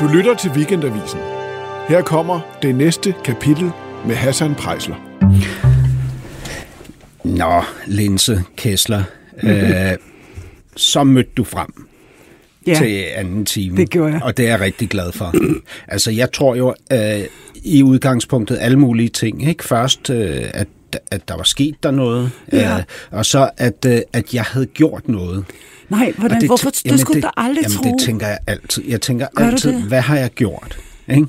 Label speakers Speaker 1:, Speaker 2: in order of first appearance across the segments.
Speaker 1: Du lytter til Weekendavisen. Her kommer det næste kapitel med Hassan Prejsler.
Speaker 2: Nå, Linse Kessler, øh, så mødte du frem ja, til anden time.
Speaker 3: det gjorde jeg.
Speaker 2: Og det er jeg rigtig glad for. altså, jeg tror jo øh, i udgangspunktet alle mulige ting. Ikke? Først, øh, at, at der var sket der noget,
Speaker 3: Ja.
Speaker 2: øh, og så at, øh, at jeg havde gjort noget.
Speaker 3: Nej, hvordan,
Speaker 2: Og
Speaker 3: det, hvorfor?
Speaker 2: tæ-
Speaker 3: Du skulle
Speaker 2: det,
Speaker 3: da aldrig
Speaker 2: jamen,
Speaker 3: tro.
Speaker 2: det tænker jeg altid. Jeg tænker
Speaker 3: Gør du
Speaker 2: altid,
Speaker 3: det?
Speaker 2: hvad har jeg gjort? Ikke?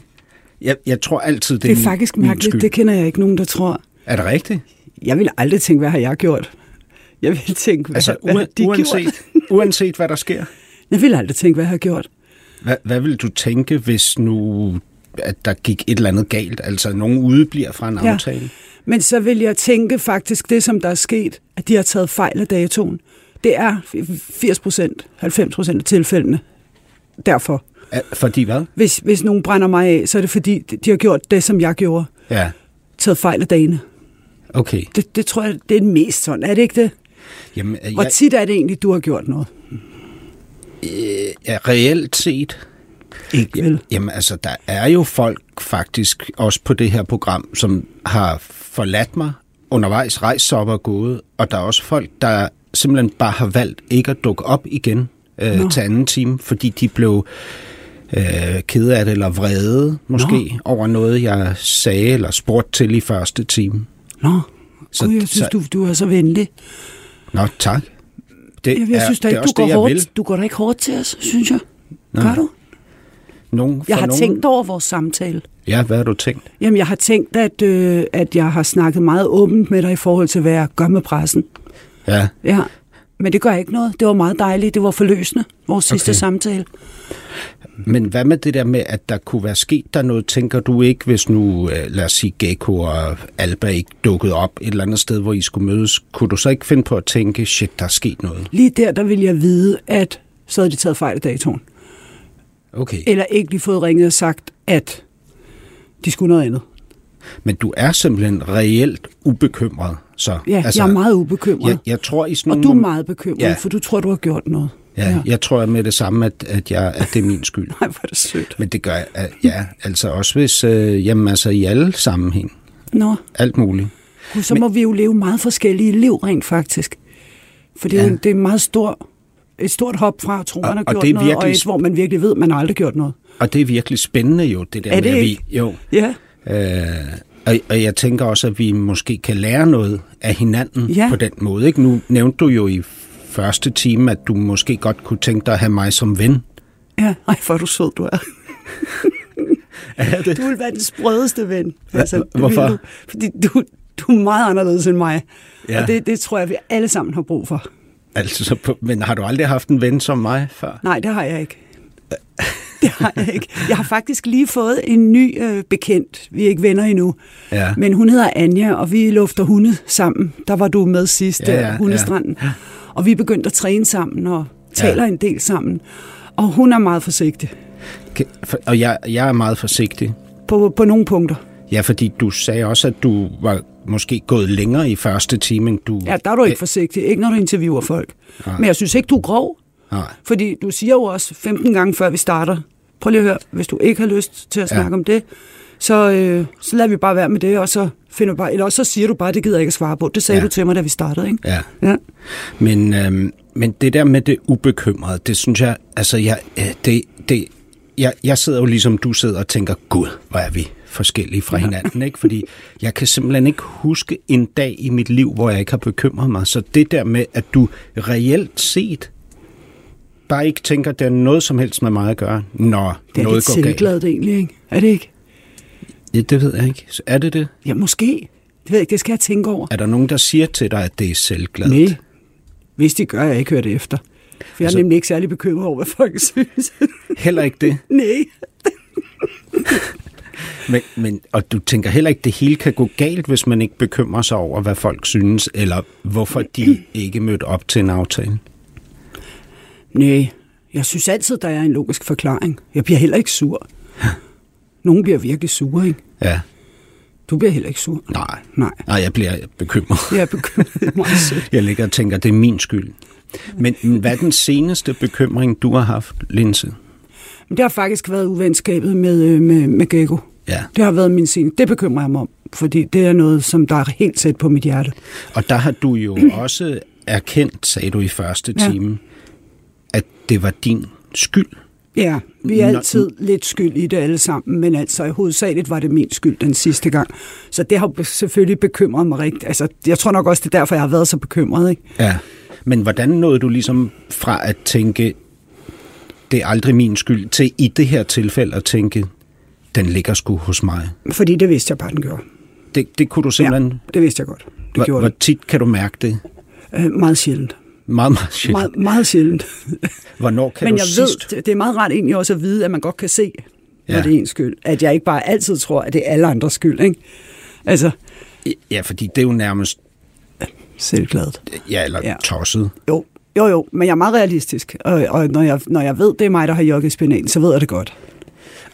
Speaker 2: Jeg, jeg tror altid, det,
Speaker 3: det er
Speaker 2: min-
Speaker 3: faktisk
Speaker 2: min
Speaker 3: mærkeligt.
Speaker 2: skyld.
Speaker 3: Det kender jeg ikke nogen, der tror.
Speaker 2: Er det rigtigt?
Speaker 3: Jeg vil aldrig tænke, hvad har jeg gjort? Jeg vil tænke, hvad,
Speaker 2: Altså,
Speaker 3: hvad har
Speaker 2: ua-
Speaker 3: de gjort?
Speaker 2: uanset, uanset hvad der sker.
Speaker 3: Jeg vil aldrig tænke, hvad jeg har gjort.
Speaker 2: Hvad, hvad vil du tænke, hvis nu at der gik et eller andet galt? Altså, nogen udebliver fra en
Speaker 3: Ja.
Speaker 2: aftale?
Speaker 3: Men så vil jeg tænke faktisk det, som der er sket, at de har taget fejl af datoen. Det er 80 procent, 90 procent af tilfældene. Derfor.
Speaker 2: Ja. Fordi hvad?
Speaker 3: Hvis, hvis nogen brænder mig af, så er det fordi, de har gjort det, som jeg gjorde.
Speaker 2: Ja,
Speaker 3: Taget fejl af dagene.
Speaker 2: okay.
Speaker 3: Det, det tror jeg, det er mest sådan. Er det ikke det?
Speaker 2: Jamen, øh,
Speaker 3: Hvor
Speaker 2: jeg,
Speaker 3: tit er det egentlig, du har gjort noget?
Speaker 2: jeg, reelt set...
Speaker 3: Ikke vel?
Speaker 2: Jamen, altså, der er jo folk faktisk, også på det her program, som har forladt mig undervejs, rejst sig op og gået, og der er også folk, der simpelthen bare har valgt ikke at dukke op igen
Speaker 3: Nå.
Speaker 2: øh, til anden time, fordi de blev øh, kede af det, eller vrede måske, Nå. over noget, jeg sagde eller spurgte til i første time.
Speaker 3: Nå,
Speaker 2: Så-
Speaker 3: så, Gud, jeg synes,
Speaker 2: så-
Speaker 3: så, du, du er så venlig.
Speaker 2: Nå, tak. Det
Speaker 3: Jeg, jeg synes da
Speaker 2: det
Speaker 3: ikke,
Speaker 2: er
Speaker 3: du
Speaker 2: også
Speaker 3: går,
Speaker 2: det, jeg
Speaker 3: hårdt,
Speaker 2: vil.
Speaker 3: du går da ikke hårdt til os, synes jeg.
Speaker 2: Nå,
Speaker 3: Gør du?
Speaker 2: Nogen,
Speaker 3: Jeg
Speaker 2: for
Speaker 3: har
Speaker 2: nogen.
Speaker 3: tænkt over vores samtale.
Speaker 2: Ja, hvad har du tænkt?
Speaker 3: Jamen, jeg har tænkt, at, øh, at jeg har snakket meget åbent med dig i forhold til, hvad jeg gør med pressen.
Speaker 2: Ja,
Speaker 3: Ja. Men det gør ikke noget. Det var meget dejligt. Det var forløsende, vores okay. sidste
Speaker 2: Okay.
Speaker 3: samtale.
Speaker 2: men hvad med det der med, at der kunne være sket der noget, tænker du ikke, hvis nu, øh, lad os sige, Gekko og Alba ikke dukkede op et eller andet sted, hvor I skulle mødes, kunne du så ikke finde på at tænke, shit, der er sket noget?
Speaker 3: Lige der, der ville jeg vide, at så havde de taget fejl af datoen.
Speaker 2: Okay,
Speaker 3: Eller ikke lige fået ringet og sagt, at de skulle noget andet.
Speaker 2: men du er simpelthen reelt ubekymret, så.
Speaker 3: Ja, altså, jeg er meget ubekymret.
Speaker 2: Jeg, jeg tror i sådan
Speaker 3: og
Speaker 2: nogle
Speaker 3: du er
Speaker 2: mom-
Speaker 3: meget bekymret,
Speaker 2: Mm. Ja.
Speaker 3: ja. for du tror, du har gjort noget.
Speaker 2: Ja, ja. jeg tror med det samme, at, at, jeg, at det er min skyld.
Speaker 3: Nej, hvor er det sødt.
Speaker 2: Men det gør jeg, øh, ja, altså også hvis, øh, jamen altså i alle sammenhæng,
Speaker 3: Nå,
Speaker 2: alt muligt.
Speaker 3: gud, så Men... må vi jo leve meget forskellige liv rent faktisk. For det, ja.
Speaker 2: Ja.
Speaker 3: det er en meget stor, et stort hop fra at tro, man har
Speaker 2: og
Speaker 3: gjort
Speaker 2: det er
Speaker 3: noget, og
Speaker 2: virkelig-
Speaker 3: et, hvor man virkelig ved, man har aldrig gjort noget.
Speaker 2: Og det er virkelig spændende jo, det der
Speaker 3: Er det
Speaker 2: med, at
Speaker 3: ikke?
Speaker 2: vi... Jo,
Speaker 3: Ja,
Speaker 2: øh, og, og jeg tænker også, at vi måske kan lære noget af hinanden
Speaker 3: Ja.
Speaker 2: på den måde. Ikke? Nu nævnte du jo i første time, at du måske godt kunne tænke dig at have mig som ven.
Speaker 3: ja. Ej, hvor er du sød, du er.
Speaker 2: Er det?
Speaker 3: Du vil være den sprødeste ven. Altså, det vil
Speaker 2: hvorfor?
Speaker 3: Du, fordi du, du er meget anderledes end mig.
Speaker 2: Ja.
Speaker 3: Ja. Og det, det tror jeg, vi alle sammen har brug for.
Speaker 2: Altså, på- men har du aldrig haft en ven som mig før?
Speaker 3: Nej, det har jeg ikke. Det har jeg ikke. Jeg har faktisk lige fået en ny øh, bekendt. Vi er ikke venner endnu.
Speaker 2: Ja.
Speaker 3: Men hun hedder Anja, og vi lufter hunde sammen. Der var du med sidst,
Speaker 2: Ja,
Speaker 3: ja,
Speaker 2: ja,
Speaker 3: ja, hundestranden. Ja. Og vi er begyndt at træne sammen og taler ja. en del sammen. Og hun er meget forsigtig
Speaker 2: Kan- for- Og jeg, jeg er meget forsigtig.
Speaker 3: på, på nogle punkter.
Speaker 2: Ja, fordi du sagde også, at du var måske gået længere i første time, end du...
Speaker 3: Ja, der er du ikke forsigtig. Ikke når du interviewer folk. Men jeg synes ikke, du er grov.
Speaker 2: Nej.
Speaker 3: Fordi du siger jo også 15 gange, før vi starter, prøv lige at høre, hvis du ikke har lyst til at
Speaker 2: Ja.
Speaker 3: snakke ja. om det, så, øh, så lader vi bare være med det, og så finder vi bare, eller også så siger du bare, det gider jeg ikke at svare på. Det sagde
Speaker 2: Ja.
Speaker 3: ja. du til mig, da vi startede, ikke?
Speaker 2: Ja.
Speaker 3: Ja.
Speaker 2: Men, øhm, men det der med det ubekymrede, det synes jeg, altså jeg, øh, det, det, jeg, jeg sidder jo ligesom du sidder og tænker, gud, hvor er vi forskellige fra hinanden, ikke? Fordi jeg kan simpelthen ikke huske en dag i mit liv, hvor jeg ikke har bekymret mig. Så det der med, at du reelt set bare ikke tænker, at det er noget som helst med mig at gøre, når
Speaker 3: Det er
Speaker 2: noget
Speaker 3: lidt
Speaker 2: går galt.
Speaker 3: selvgladet egentlig, ikke? Er det ikke?
Speaker 2: Ja, det ved jeg ikke. Så er det det?
Speaker 3: Ja, måske. Det ved jeg ikke, det skal jeg tænke over.
Speaker 2: Er der nogen, der siger til dig, at det er selvgladet?
Speaker 3: Nej, hvis de gør, jeg ikke hørt efter. For jeg er
Speaker 2: Altså-
Speaker 3: altså... nemlig ikke særlig bekymret over, hvad folk synes.
Speaker 2: Heller ikke det?
Speaker 3: Nej.
Speaker 2: Men, men, og du tænker heller ikke, at det hele kan gå galt, hvis man ikke bekymrer sig over, hvad folk synes, eller hvorfor de ikke mødte op til en aftale?
Speaker 3: Nej, jeg synes altid, der er en logisk forklaring. Jeg bliver heller ikke sur. Nogen bliver virkelig sure, ikke?
Speaker 2: Ja,
Speaker 3: Du bliver heller ikke sur.
Speaker 2: nej.
Speaker 3: Nej.
Speaker 2: Nej, jeg bliver bekymret.
Speaker 3: Jeg er bekymret meget sødt.
Speaker 2: Jeg ligger og tænker, det er min skyld. Men hvad er den seneste bekymring, du har haft, Linse?
Speaker 3: Men det har faktisk været uvenskabet med, øh, med, med Gekko.
Speaker 2: Ja.
Speaker 3: Det har været min scene. Det bekymrer jeg mig om, fordi det er noget, som der er helt tæt på mit hjerte.
Speaker 2: Og der har du jo også erkendt, sagde du i første
Speaker 3: Ja.
Speaker 2: time, at det var din skyld.
Speaker 3: Ja, vi er
Speaker 2: Nå-
Speaker 3: altid lidt skyld i det alle sammen, men altså i hovedsageligt var det min skyld den sidste gang. Så det har be- selvfølgelig bekymret mig rigtigt. Altså, jeg tror nok også, det er derfor, jeg har været så bekymret. Ikke?
Speaker 2: Ja. Men hvordan nåede du ligesom fra at tænke, det er aldrig min skyld, til i det her tilfælde at tænke, den ligger sgu hos mig?
Speaker 3: Fordi det vidste jeg bare, den gjorde.
Speaker 2: Det, det kunne du simpelthen...
Speaker 3: Ja, det vidste jeg godt. Det
Speaker 2: hvor,
Speaker 3: gjorde
Speaker 2: hvor
Speaker 3: det.
Speaker 2: tit kan du mærke det?
Speaker 3: Øh, meget sjældent.
Speaker 2: Meget, meget sjældent. Meget.
Speaker 3: Meget, meget sjældent.
Speaker 2: Hvornår kan
Speaker 3: men
Speaker 2: du
Speaker 3: jeg
Speaker 2: sidst...
Speaker 3: ved, det- det er meget rart egentlig også at vide, at man godt kan se, når
Speaker 2: Ja.
Speaker 3: det er ens skyld. At jeg ikke bare altid tror, at det er alle andres skyld. Ikke? Altså,
Speaker 2: Ja, fordi det er jo nærmest...
Speaker 3: selvgladet.
Speaker 2: Ja, eller ja.
Speaker 3: Ja.
Speaker 2: tosset.
Speaker 3: Jo, jo, jo, men jeg er meget realistisk. Og, og når, jeg, når jeg ved, det er mig, der har jogget spinat, så ved jeg det godt.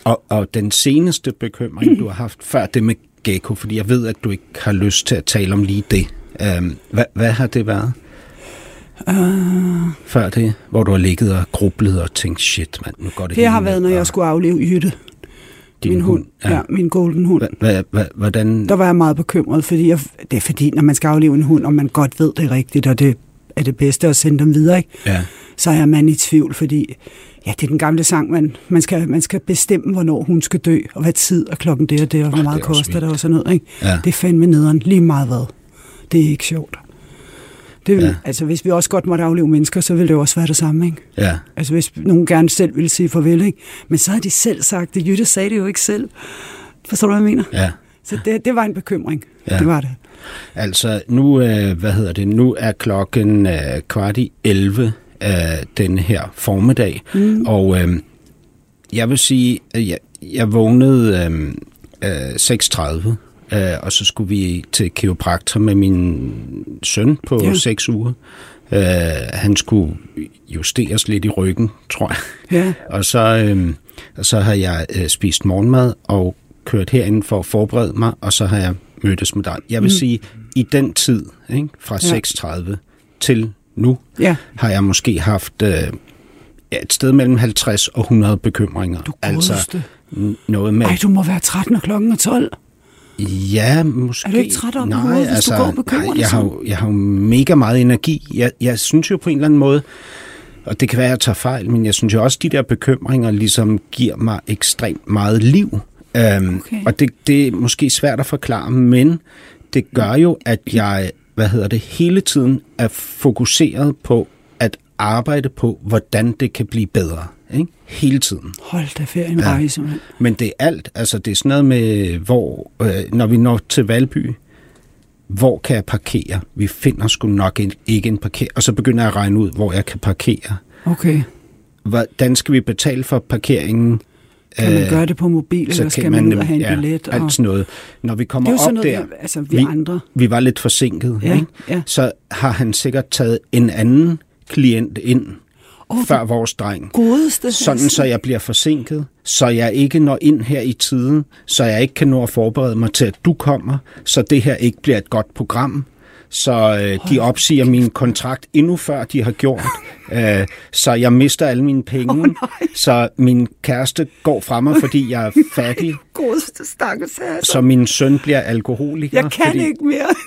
Speaker 2: Og, og den seneste bekymring, du har haft før det med Gekko, fordi jeg ved, at du ikke har lyst til at tale om lige det. Øhm, hvad, hvad har det været?
Speaker 3: Øh.
Speaker 2: Uh... Før det, hvor du har ligget og grublet og tænkt, shit mand, nu går det
Speaker 3: Det
Speaker 2: hele
Speaker 3: har
Speaker 2: ned,
Speaker 3: været, når
Speaker 2: og
Speaker 3: jeg skulle afleve Jytte,
Speaker 2: din
Speaker 3: min hund. Ja, min golden hund.
Speaker 2: Hva- hva- hva- Hvordan...
Speaker 3: Der var jeg meget bekymret, fordi jeg, det er fordi, når man skal afleve en hund, og man godt ved det rigtigt, og det er det bedste at sende dem videre, ikke?
Speaker 2: Ja.
Speaker 3: så er man i tvivl, fordi ja, det er den gamle sang, man, man, skal, man skal bestemme, hvornår hun skal dø, og hvad tid og klokken det og det, og hvor
Speaker 2: Åh,
Speaker 3: meget
Speaker 2: det er også
Speaker 3: koster det
Speaker 2: vildt.
Speaker 3: og sådan noget. Ikke?
Speaker 2: Ja.
Speaker 3: Det er fandme nederen, lige meget hvad. Det er ikke sjovt. Det vil,
Speaker 2: Ja.
Speaker 3: ja. Altså, hvis vi også godt måtte afleve mennesker, så ville det jo også være det samme, ikke?
Speaker 2: ja.
Speaker 3: Altså hvis nogen gerne selv ville sige farvel, ikke? Men så har de selv sagt det. Jytte sagde det jo ikke selv. Forstår du, hvad jeg mener?
Speaker 2: Ja.
Speaker 3: Så det, det var en bekymring.
Speaker 2: Ja.
Speaker 3: Ja. Det var det.
Speaker 2: Altså, nu, øh, hvad hedder det, nu er klokken øh, kvart i 11 øh, den her formiddag, mm. og øh, jeg vil sige, at jeg, jeg vågnede øh, øh, 6.30, øh, og så skulle vi til kiropraktor med min søn på ja.
Speaker 3: Ja.
Speaker 2: 6 uger. Øh, han skulle justeres lidt i ryggen, tror jeg.
Speaker 3: Ja.
Speaker 2: Og så, øh, så har jeg øh, spist morgenmad og kørt herind for at forberede mig, og så har jeg mødtes med dig. Jeg vil mm. sige, i den tid, ikke, fra ja. 6.30 til nu,
Speaker 3: Ja.
Speaker 2: har jeg måske haft øh, ja, et sted mellem 50 og 100 bekymringer. Du altså,
Speaker 3: godeste.
Speaker 2: n- noget med...
Speaker 3: Ej, du må være 13 og klokken er 12.
Speaker 2: Ja, måske.
Speaker 3: Er du ikke træt om
Speaker 2: nej,
Speaker 3: hovedet, hvis du
Speaker 2: altså,
Speaker 3: går ligesom? og bekymrer
Speaker 2: nej,
Speaker 3: dig
Speaker 2: jeg har, jo, jeg har jo mega meget energi. Jeg, jeg synes jo på en eller anden måde, og det kan være, at jeg tager fejl, men jeg synes jo også, at de der bekymringer ligesom giver mig ekstremt meget liv. Øhm,
Speaker 3: Okay.
Speaker 2: Og det, det er måske svært at forklare, men det gør jo, at jeg hvad hedder det, hele tiden er fokuseret på at arbejde på, hvordan det kan blive bedre. Ikke? Hele tiden.
Speaker 3: Hold da ferie en ja. rejse, mand.
Speaker 2: Men det er alt. Altså, det er sådan noget med, hvor, øh, når vi når til Valby, hvor kan jeg parkere? Vi finder sgu nok en, ikke en parker. Og så begynder jeg at regne ud, hvor jeg kan parkere.
Speaker 3: Okay.
Speaker 2: Hvordan skal vi betale for parkeringen?
Speaker 3: Kan
Speaker 2: Øh,
Speaker 3: man gøre det på mobil, eller skal man, ud og have en
Speaker 2: ja,
Speaker 3: billet? Og...
Speaker 2: alt sådan noget. Når vi kommer
Speaker 3: Det er jo
Speaker 2: op
Speaker 3: sådan noget,
Speaker 2: der,
Speaker 3: vi- altså, vi andre-
Speaker 2: Vi var lidt forsinket,
Speaker 3: Ja,
Speaker 2: ikke?
Speaker 3: ja.
Speaker 2: så har han sikkert taget en anden klient ind,
Speaker 3: Åh,
Speaker 2: oh,
Speaker 3: hvor
Speaker 2: før vores dreng.
Speaker 3: Godeste.
Speaker 2: Sådan så jeg bliver forsinket, så jeg ikke når ind her i tiden, så jeg ikke kan nå at forberede mig til, at du kommer, så det her ikke bliver et godt program. Så øh, de opsiger min kontrakt endnu før de har gjort, øh, så jeg mister alle mine penge, oh, så min kæreste går fra mig, fordi jeg er fattig,
Speaker 3: Godeste stakkels altså.
Speaker 2: så min søn bliver alkoholiker.
Speaker 3: Jeg kan
Speaker 2: fordi,
Speaker 3: fordi... ikke mere.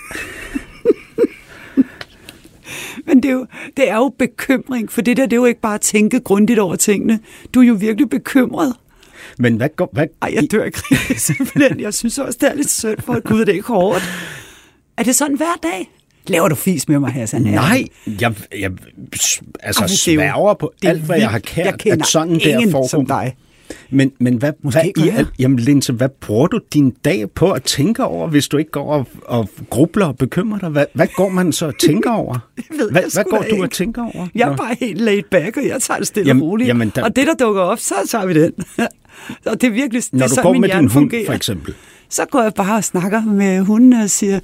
Speaker 3: Men det er, jo, det er jo bekymring, for det der, det er jo ikke bare at tænke grundigt over tingene. Du er jo virkelig bekymret.
Speaker 2: Men hvad, går, hvad,
Speaker 3: Ej, jeg dør ikke simpelthen. Jeg synes også, det er lidt synd for, at Gud, det er ikke hårdt. Er det sådan hver dag? Laver du fis med mig, Hassan?
Speaker 2: Nej, jeg, jeg altså,
Speaker 3: Ej,
Speaker 2: Ej,
Speaker 3: det er jo-
Speaker 2: sværger på
Speaker 3: det er
Speaker 2: alt, hvad jeg har
Speaker 3: vildt. Jeg
Speaker 2: kært,
Speaker 3: kender
Speaker 2: at sådan der
Speaker 3: ingen
Speaker 2: foregår.
Speaker 3: som dig.
Speaker 2: Men, men hvad,
Speaker 3: Måske
Speaker 2: hvad
Speaker 3: gør
Speaker 2: i
Speaker 3: jeg.
Speaker 2: al, jamen Linse, hvad bruger du din dag på at tænke over, hvis du ikke går og, og grubler og bekymrer dig? Hvad, hvad går man så og tænker over?
Speaker 3: ved
Speaker 2: hvad,
Speaker 3: jeg
Speaker 2: hvad
Speaker 3: sgu
Speaker 2: går
Speaker 3: da
Speaker 2: du
Speaker 3: ikke.
Speaker 2: og tænker over?
Speaker 3: Jeg er
Speaker 2: Nå.
Speaker 3: bare helt laid back, og jeg tager det stille
Speaker 2: Jamen-
Speaker 3: og roligt.
Speaker 2: jamen, der-
Speaker 3: Og det, der dukker op, så tager vi den. og det er virkelig det
Speaker 2: Når
Speaker 3: er
Speaker 2: du
Speaker 3: sådan,
Speaker 2: går
Speaker 3: min
Speaker 2: med
Speaker 3: hjerne
Speaker 2: din hund,
Speaker 3: fungerer.
Speaker 2: for eksempel.
Speaker 3: Så går jeg bare og snakker med hunden og siger,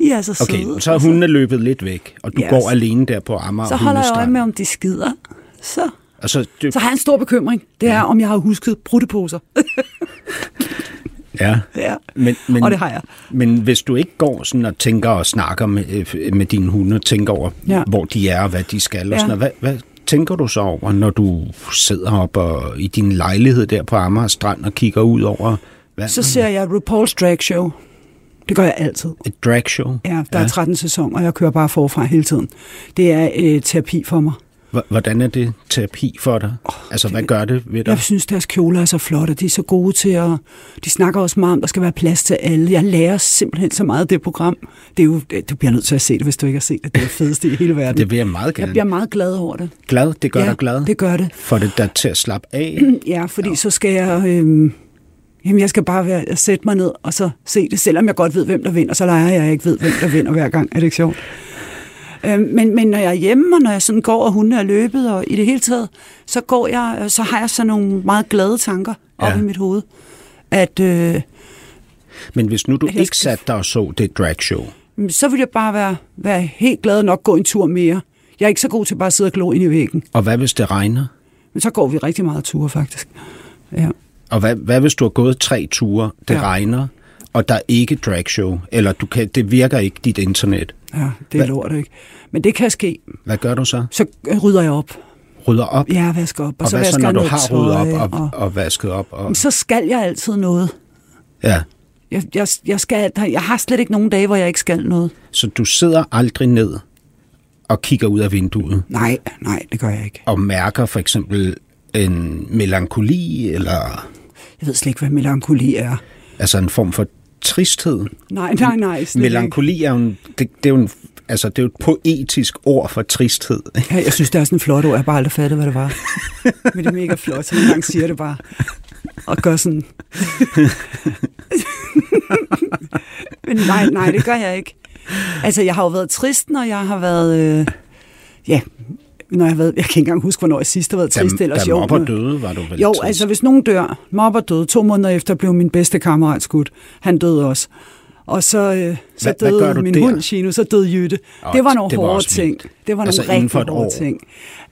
Speaker 3: I er så
Speaker 2: Okay,
Speaker 3: søde.
Speaker 2: så er hundene løbet lidt væk, og du yes.
Speaker 3: Yes.
Speaker 2: går alene der på Amager
Speaker 3: Så holder jeg øje med, om de skider. Så,
Speaker 2: Og så, det,
Speaker 3: så har jeg en stor bekymring. Det er, om jeg har husket brutteposer.
Speaker 2: ja.
Speaker 3: ja.
Speaker 2: Men, men,
Speaker 3: Og det har jeg.
Speaker 2: Men hvis du ikke går sådan og tænker og snakker med, øh, med dine hunde, og tænker over, ja.
Speaker 3: Ja.
Speaker 2: hvor de er og hvad de skal, ja. og
Speaker 3: Ja.
Speaker 2: sådan noget, hvad, hvad tænker du så over, når du sidder op og, i din lejlighed der på Amager Strand og kigger ud over vandet?
Speaker 3: Så ser jeg RuPaul's Drag Show. Det gør jeg altid.
Speaker 2: Et dragshow?
Speaker 3: Ja, der ja. er 13 sæsoner, og jeg kører bare forfra hele tiden. Det er øh, terapi for mig.
Speaker 2: H- Hvordan er det terapi for dig? Oh, altså, hvad gør det ved dig?
Speaker 3: Jeg synes, deres kjoler er så flotte. De er så gode til at... De snakker også meget om, at der skal være plads til alle. Jeg lærer simpelthen så meget af det program. Det er jo, du bliver nødt til at se det, hvis du ikke har set det. Det er det fedeste i hele verden.
Speaker 2: Det vil jeg meget gerne.
Speaker 3: Jeg bliver meget glad over det.
Speaker 2: Glad? Det gør
Speaker 3: Ja,
Speaker 2: dig glad?
Speaker 3: det gør det.
Speaker 2: Får det dig til at slappe af?
Speaker 3: Ja, fordi så skal jeg... Øh, jamen, jeg skal bare være, jeg sætte mig ned og så se det, selvom jeg godt ved, hvem der vinder, så leger jeg, at jeg ikke ved, hvem der vinder hver gang. Er det ikke sjovt? Øh, men, men når jeg er hjemme, og når jeg sådan går, og hundene er løbet, og i det hele taget, så, går jeg, øh, så har jeg sådan nogle meget glade tanker op
Speaker 2: Ja.
Speaker 3: i mit hoved. At, øh,
Speaker 2: Men hvis nu du
Speaker 3: Jeg
Speaker 2: ikke
Speaker 3: skal-
Speaker 2: satte dig og så det dragshow,
Speaker 3: så vil jeg bare være, være helt glad og nok gå en tur mere. Jeg er ikke så god til bare at sidde og glo ind i væggen.
Speaker 2: og hvad hvis det regner?
Speaker 3: Men så går vi rigtig meget ture, faktisk. Ja.
Speaker 2: Og hvad, hvad hvis du har gået tre ture, det ja.
Speaker 3: Ja.
Speaker 2: regner, og der er ikke dragshow, eller du kan, det virker ikke dit internet?
Speaker 3: Ja, det er lort, ikke? Men det kan ske.
Speaker 2: Hvad gør du så?
Speaker 3: Så rydder jeg op.
Speaker 2: Rydder op?
Speaker 3: Ja, vasker op. Og,
Speaker 2: og
Speaker 3: så
Speaker 2: hvad så,
Speaker 3: vasker
Speaker 2: når
Speaker 3: jeg
Speaker 2: du
Speaker 3: noget
Speaker 2: har
Speaker 3: tøj,
Speaker 2: ryddet op og,
Speaker 3: og...
Speaker 2: og vasket op? Og,
Speaker 3: Jamen, Så skal jeg altid noget.
Speaker 2: ja.
Speaker 3: Jeg, jeg, jeg, skal, jeg har slet ikke nogen dage, hvor jeg ikke skal noget.
Speaker 2: Så du sidder aldrig ned og kigger ud af vinduet
Speaker 3: Nej, nej, det gør jeg ikke.
Speaker 2: og mærker for eksempel en melankoli, eller
Speaker 3: Jeg ved slet ikke, hvad melankoli er.
Speaker 2: altså en form for tristhed?
Speaker 3: Nej, nej, nej. Slet ikke.
Speaker 2: Melankoli er jo, en, det, det er jo en, altså, det er jo et poetisk ord for tristhed.
Speaker 3: Ja, jeg synes, det er sådan en flot ord. Jeg har bare aldrig fattet, hvad det var. Men det er mega flot, så nogle gange siger jeg det bare. Og gør sådan. Men nej, nej, det gør jeg ikke. Altså, jeg har jo været trist, når jeg har været... Øh, ja, når jeg har været... Jeg kan ikke engang huske, hvornår jeg sidst har været trist.
Speaker 2: da,
Speaker 3: ellers
Speaker 2: da
Speaker 3: jo,
Speaker 2: mobber
Speaker 3: men-
Speaker 2: døde, var du vel
Speaker 3: Jo,
Speaker 2: trist?
Speaker 3: altså hvis nogen dør, mobber døde, to måneder efter blev min bedste kammerat skudt. Han døde også. Og så, øh, så
Speaker 2: Hvad- hvad
Speaker 3: døde
Speaker 2: gør du
Speaker 3: min
Speaker 2: der?
Speaker 3: hund Chino, så døde Jytte.
Speaker 2: Åh,
Speaker 3: det var nogle
Speaker 2: det var
Speaker 3: hårde
Speaker 2: også
Speaker 3: ting.
Speaker 2: vildt.
Speaker 3: Det var
Speaker 2: Altså
Speaker 3: nogle
Speaker 2: inden for
Speaker 3: rigtig
Speaker 2: et
Speaker 3: hårde
Speaker 2: år?
Speaker 3: ting.